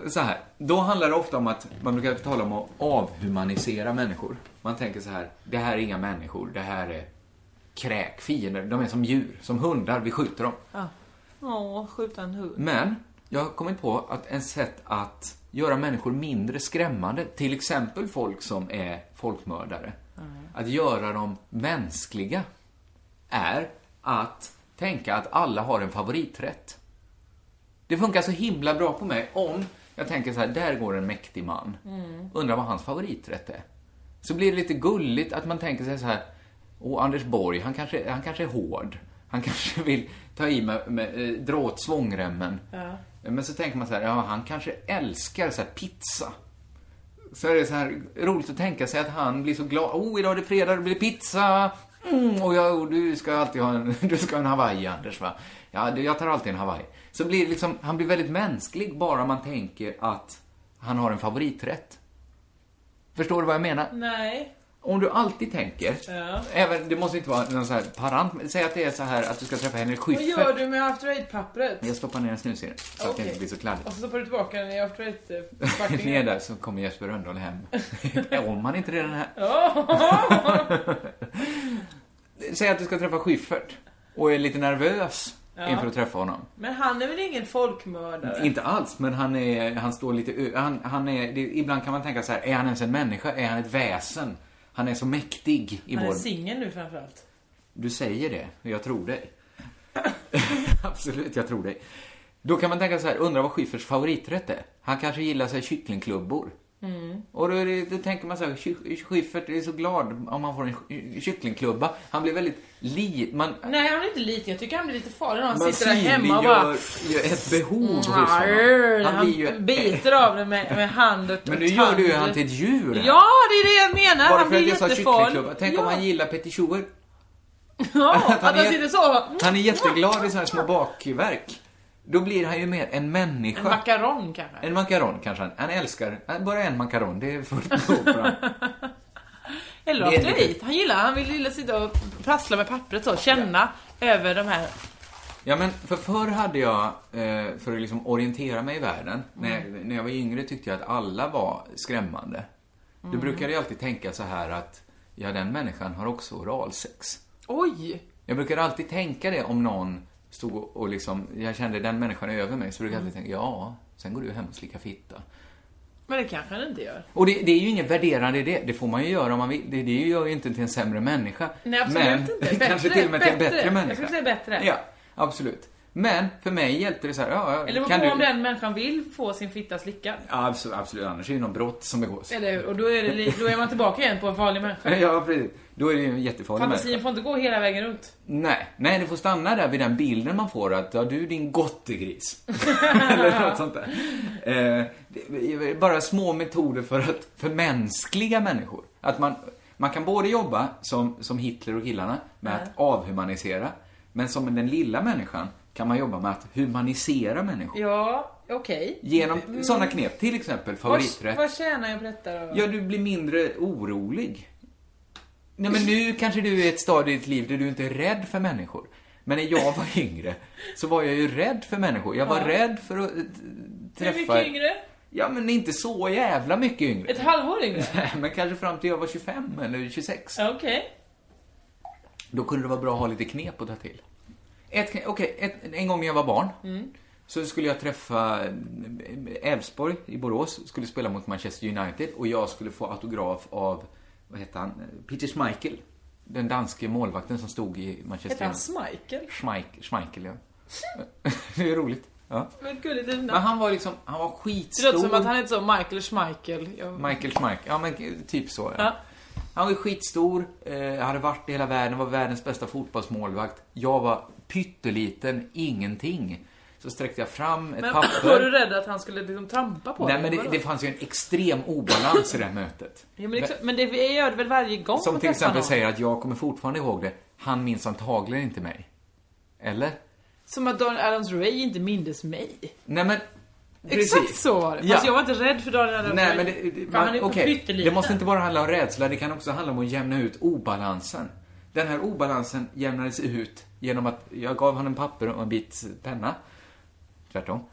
Så här, då handlar det ofta om att man brukar tala om att avhumanisera människor. Man tänker så här, det här är inga människor, det här är kräkfiender, de är som djur, som hundar, vi skjuter dem. Ja. Ah. Åh, skjuta en hund. Men jag har kommit på att en sätt att göra människor mindre skrämmande, till exempel folk som är folkmördare, att göra dem mänskliga är att tänka att alla har en favoriträtt. Det funkar så himla bra på mig om jag tänker så här, där går en mäktig man. Mm. Undrar vad hans favoriträtt är. Så blir det lite gulligt att man tänker sig så här, åh Anders Borg, han kanske, han kanske är hård. Han kanske vill ta i med, med eh, dra åt svångremmen. Ja. Men så tänker man så här, ja han kanske älskar så här pizza. Så är det så här roligt att tänka sig att han blir så glad. Oh, idag är det fredag, det blir pizza! Mm, och, jag, och du ska alltid ha en, du ska ha en hawaii, Anders, va? Ja, du, jag tar alltid en hawaii. Så blir det liksom, han blir väldigt mänsklig bara man tänker att han har en favoriträtt. Förstår du vad jag menar? Nej. Om du alltid tänker, Ja. även, det måste inte vara någon så här parant, men säg att det är så här att du ska träffa Henrik Vad gör Schyffert. du med after eight-pappret? Ah, Jag stoppar ner en snus i den, så att det Okej. inte blir så kladdigt. Och så stoppar du tillbaka den i after Ner eight-packningen. där så kommer Jesper Rönndahl hem. Om han inte redan är här. Säg att du ska träffa Schyffert och är lite nervös. Ja. inför att träffa honom. Men han är väl ingen folkmördare? Inte alls, men han, är, han står lite u- han, han är, det, Ibland kan man tänka så här, är han ens en människa? Är han ett väsen? Han är så mäktig i Han är vår... singel nu framförallt. Du säger det, jag tror dig. Absolut, jag tror dig. Då kan man tänka så här, undra vad Schyfferts favoriträtt är? Han kanske gillar sig kycklingklubbor. Mm. Och då, är det, då tänker man så här, Schy- Schyffert är så glad om han får en ky- kycklingklubba. Han blir väldigt li... Man, Nej, han är inte liten. Jag tycker han blir lite farlig när han man sitter där hemma och bara... ju ett behov hos honom. Nej, Han Han blir ju... biter av det med, med hand och Men nu och gör tand. du ju han till ett djur. Ja, det är det jag menar. Bara han för blir att jag sa kycklingklubba. jättefarlig. Tänk ja. om han gillar petitioner. Ja, att att han han, är- sitter så. Han är jätteglad i såna här små bakverk. Då blir han ju mer en människa. En makaron kanske. En makaron kanske han. Han älskar, nej, bara en makaron, det är fullt nog för honom. Eller Det är aftereit. Han gillar, han vill gilla sitta och prassla med pappret så. Känna över de här. Ja men för förr hade jag, eh, för att liksom orientera mig i världen, när, jag, när jag var yngre tyckte jag att alla var skrämmande. Då Mm. brukade jag alltid tänka så här att, ja den människan har också oralsex. Oj! Jag brukade alltid tänka det om någon stod och, och liksom, jag kände den människan är över mig, så brukade jag Mm. alltid tänka, ja, sen går du hem och slickar fitta. Men det kanske han inte gör. Och det, det är ju inget värderande i det. Det får man ju göra om man vill. Det, det gör ju inte till en sämre människa. Nej, absolut Men, inte. Bättre, kanske till och med till en bättre Jag människa. skulle säga bättre. Ja, absolut. Men för mig hjälpte det så här, ja, ja, Eller beror kan på du... om den människan vill få sin fitta slickad. Ja, absolut, absolut, annars är det ju något brott som begås. Eller hur? Och då är, det, li- då är man tillbaka igen på en farlig människa. Ja, precis. Då är det ju en jättefarlig människa. Fantasin får inte gå hela vägen runt. Nej, nej, det får stanna där vid den bilden man får att, ja du din gottegris. Eller något sånt där. Eh, det är bara små metoder för att förmänskliga människor. Att man, man kan både jobba som, som Hitler och killarna med Ja. att avhumanisera, men som den lilla människan kan man jobba med att humanisera människor. Ja, okej. Genom Mm. sådana knep, till exempel favoriträtt. Vad, vad tjänar jag på detta då? Ja, du blir mindre orolig. Nej, men nu kanske du är i ett stadie i ditt liv där du inte är rädd för människor. Men när jag var yngre så var jag ju rädd för människor. Jag var Ja. rädd för att eh, Hur träffa... mycket yngre? Ja, men inte så jävla mycket yngre. Ett halvår yngre? Nej, men kanske fram till jag var 25 eller 26. Ja, Okej. Då kunde det vara bra att ha lite knep att ta till. Ett, kne- okej, ett, en gång när jag var barn Mm. så skulle jag träffa eh, Elfsborg i Borås, skulle spela mot Manchester United och jag skulle få autograf av, vad heter han, Peter Schmeichel. Den danske målvakten som stod i Manchester Hette han United. Smichael? Schmeich, Schmeichel, ja. det är roligt. Ja. Vad gulligt namn. Men han var liksom, han var Det skitstor. låter som att han heter så Michael Schmeichel. Jag... Michael Schmeich, ja men eh, typ så. Ja. Ja. Han var ju skitstor, eh, hade varit i hela världen, var världens bästa fotbollsmålvakt. Jag var pytteliten, ingenting. Så sträckte jag fram ett Men papper. var du rädd att han skulle liksom trampa på Nej dig, men eller det, det vadå? fanns ju en extrem obalans i det här mötet. ja, men, det är klart- men det gör det väl varje gång Som man till träffar exempel någon? säger att jag kommer fortfarande ihåg det. Han minns antagligen inte mig. Eller? Som att Daniel Adams-Ray inte mindes mig. Nej men... Exakt så var det. Fast Ja. jag var inte rädd för Daniel Adams-Ray. Nej, men det, det, För man, han är okej, pytteliten. det måste inte bara handla om rädsla, det kan också handla om att jämna ut obalansen. Den här obalansen jämnades ut genom att jag gav honom papper och en bit penna. Tvärtom.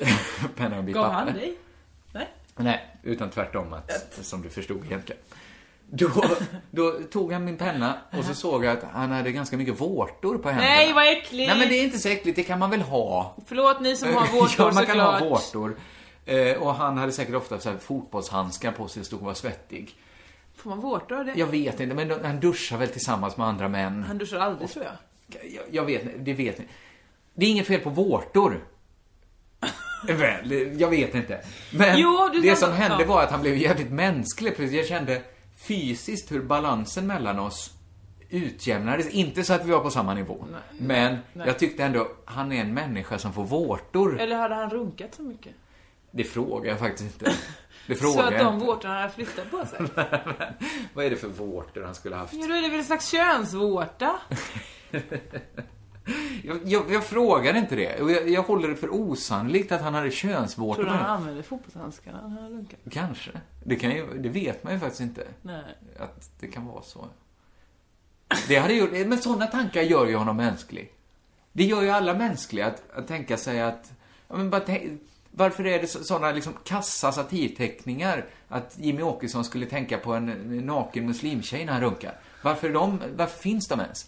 penna och en bit Gav papper. han dig? Nej, utan tvärtom att, som du förstod egentligen. Då, då tog han min penna och så såg jag att han hade ganska mycket vårtor på händerna. Nej, vad äckligt! Nej men det är inte så äckligt, det kan man väl ha? Förlåt ni som har vårtor ja, man kan såklart. ha vårtor. Eh, och han hade säkert ofta så här fotbollshandskar på sig och stod och var svettig. Får man vårtor av det? Jag vet inte, men de- han duschar väl tillsammans med andra män. Han duschar aldrig tror jag. Jag, jag vet inte, det vet ni. Det är inget fel på vårtor. Väl, jag vet inte. Men Jo, du det kan- som hände ja. var att han blev jävligt mänsklig. Precis. Jag kände fysiskt hur balansen mellan oss utjämnades. Inte så att vi var på samma nivå. men nej. jag tyckte ändå, han är en människa som får vårtor. Eller hade han runkat så mycket? Det frågar jag faktiskt inte. Det Så frågar att jag de inte. vårtorna hade flyttat på sig? Vad är det för vårtor han skulle ha haft? Ja, då är det väl en slags könsvårta? Jag, jag, jag frågar inte det. Och Jag, jag håller det för osannolikt att han hade könsvårtor. Tror du på han henne. använder fotbollshandskarna när han runkar? Kanske. Det, kan ju, det vet man ju faktiskt inte. Nej. Eh, Att det kan vara så. Det hade gjort, men sådana tankar gör ju honom mänsklig. Det gör ju alla mänskliga, att, att tänka sig att... Ja, men bara tänk, varför är det sådana liksom kassa satirteckningar att Jimmy Åkesson skulle tänka på en naken muslimtjej när han runkar? Varför, är de, varför finns de ens?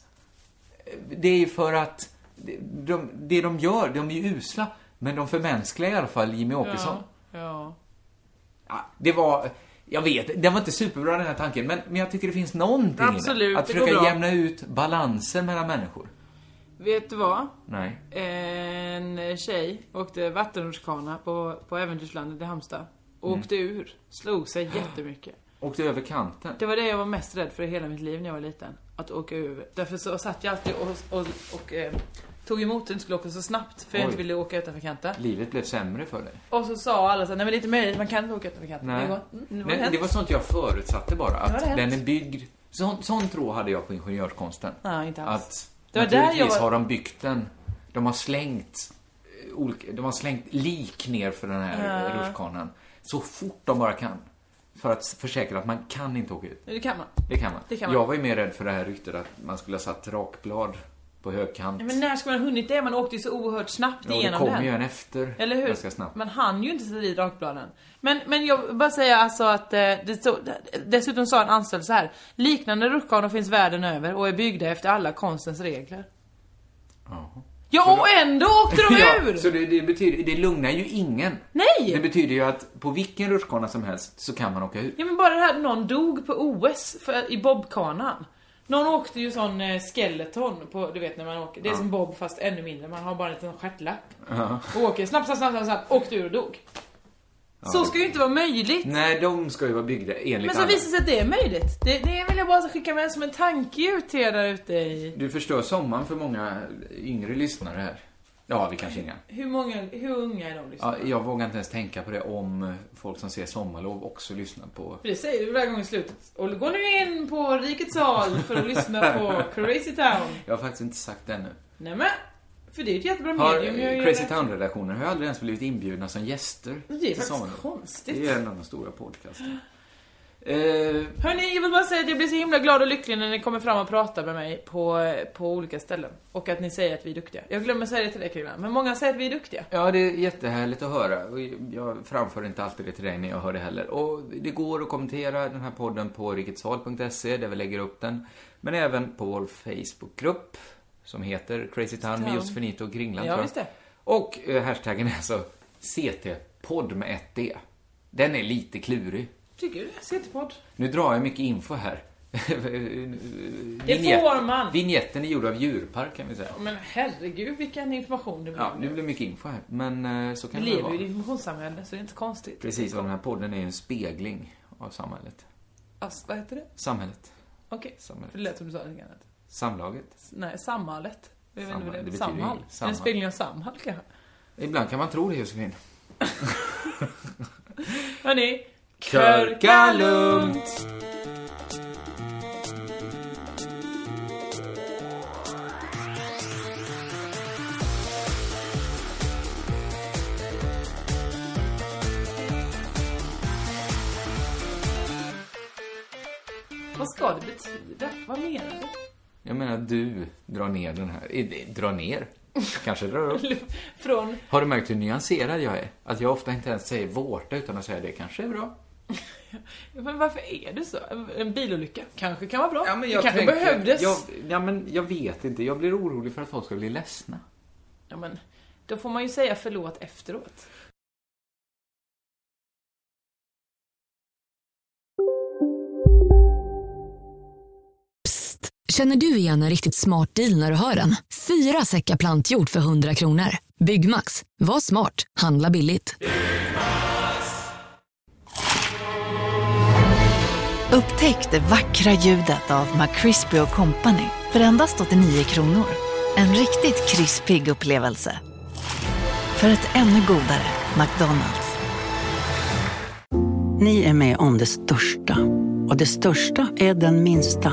Det är ju för att de, det de gör, de är ju usla. Men de förmänskligar i alla fall Jimmy Åkesson. Ja, ja. Ja, Ah, det var... Jag vet, den var inte superbra den här tanken, men, men jag tycker det finns någonting i Absolut, den. Att det försöka går bra. jämna ut balansen mellan människor. Vet du vad? Nej. En tjej åkte vattenrutschkana på, på Äventyrslandet i Halmstad. Och Mm. Åkte ur. Slog sig jättemycket. Åkte över kanten. Det var det jag var mest rädd för i hela mitt liv när jag var liten. Att åka över. Därför så satt jag alltid och, och, och eh, tog emot den skulle åka så snabbt. För jag Oj. inte ville åka utanför kanten. Livet blev sämre för dig. Och så sa alla så här, nej men det är inte möjligt, man kan inte åka utanför kanten. Nej. Det var, mm, nu har Nej, hänt. det var sånt jag förutsatte bara. Nu har det Att hänt. den är byggd... Sån, sån tro hade jag på ingenjörskonsten. Nej, inte alls. Att Det var där jag naturligtvis var- har de byggt den. De har slängt eh, olika, de har slängt lik ner för den här Ja. ja. rutschkanan. Så fort de bara kan. För att s- försäkra att man kan inte åka ut. Nu, Det kan man. Det kan man. Det kan man. Jag var ju mer rädd för det här ryktet att man skulle ha satt rakblad på högkant. Nej, men när ska man ha hunnit det? Man åkte ju så oerhört snabbt Ja, det igenom kommer den. ju en efter Eller hur? ganska snabbt. Man hann ju inte sätta i rakbladen. Men, men jag vill bara säga alltså att eh, det stod, dessutom sa en anställd så här. Liknande rutschkanor finns världen över och är byggda efter alla konstens regler. Ja, och ändå åkte de ur! Ja, så det, det, betyder, det lugnar ju ingen. Nej! Det betyder ju att på vilken rutschkana som helst så kan man åka ut. Ja men bara det här, någon dog på OS för, i bobkanan. Någon åkte ju sån eh, skeleton på, du vet när man åker, det är Ja. som bob fast ännu mindre, man har bara en liten stjärtlapp. Ja. Och åker snabbt, snabbt, snabbt, snabbt, åkte ur och dog. Ja, Så det- ska ju inte vara möjligt. Nej, de ska ju vara byggda enligt Men så alla. visar det sig att det är möjligt. Det, det vill jag bara skicka med som en tanke ut till er där ute i... Du förstör sommaren för många yngre lyssnare här. Ja, vi kanske inga. Hur många, hur unga är de liksom? Ja, jag vågar inte ens tänka på det om folk som ser sommarlov också lyssnar på... För det säger du varje gång i slutet. Och gå nu in på Rikets sal för att lyssna på Crazy Town. Jag har faktiskt inte sagt det ännu. Nämen! För det är ju ett jättebra Har medium. jag eh, gör Crazy det. Town-redaktionen har aldrig ens blivit inbjudna som gäster Det är till faktiskt Sommarlov. konstigt. Det är en av de stora podcasten. Eh, Hörni, jag vill bara säga att jag blir så himla glad och lycklig när ni kommer fram och pratar med mig på, på olika ställen. Och att ni säger att vi är duktiga. Jag glömmer säga det till dig Kringland, men många säger att vi är duktiga. Ja, det är jättehärligt att höra. Och Jag framför inte alltid det till dig när jag hör det heller. Och det går att kommentera den här podden på riketshal.se där vi lägger upp den. Men även på vår Facebookgrupp som heter Crazy Town med Town. Josefinito och Kringland. Ja, tror jag. visst det. Och eh, hashtaggen är alltså CT-podd med ett D. Den är lite klurig. Tycker du det? CT-podd. Nu drar jag mycket info här. Det Vignett- får man. Vignetten är gjord av djurpark kan vi säga. Men herregud vilken information det blir. Ja, nu blir det mycket info här. Men eh, så vi kan det väl lever vara. ju i ett informationssamhälle, så det är inte konstigt. Precis, och den här podden är ju en spegling av samhället. Alltså, vad heter det? Samhället. Okej, Samhället. för det lät som du sa något annat. Samlaget. Nej, samhället. Jag vet inte Samhall, vad det det är. betyder ju Samhall. inget. En Samhall. spegling av Samhall kanske. Ibland kan man tro det, Josefin. Hörni, Körka lugnt! Vad ska det betyda? Vad menar du? Jag menar, du drar ner den här. Eh, eh, Drar ner? Kanske drar upp. Från... Har du märkt hur nyanserad jag är? Att jag ofta inte ens säger vårta utan att säga det kanske är bra. Men varför är det så? En bilolycka kanske kan vara bra. Ja, men det kanske tänker- behövdes. Jag, ja, men jag vet inte. Jag blir orolig för att folk ska bli ledsna. Ja, men då får man ju säga förlåt efteråt. Känner du igen en riktigt smart deal när du hör den? Fyra säckar plantjord för 100 kronor. Byggmax. Var smart. Handla billigt. Upptäck det vackra ljudet av McCrispy Company för endast 89 kronor. En riktigt krispig upplevelse. För ett ännu godare McDonalds. Ni är med om det största. Och det största är den minsta.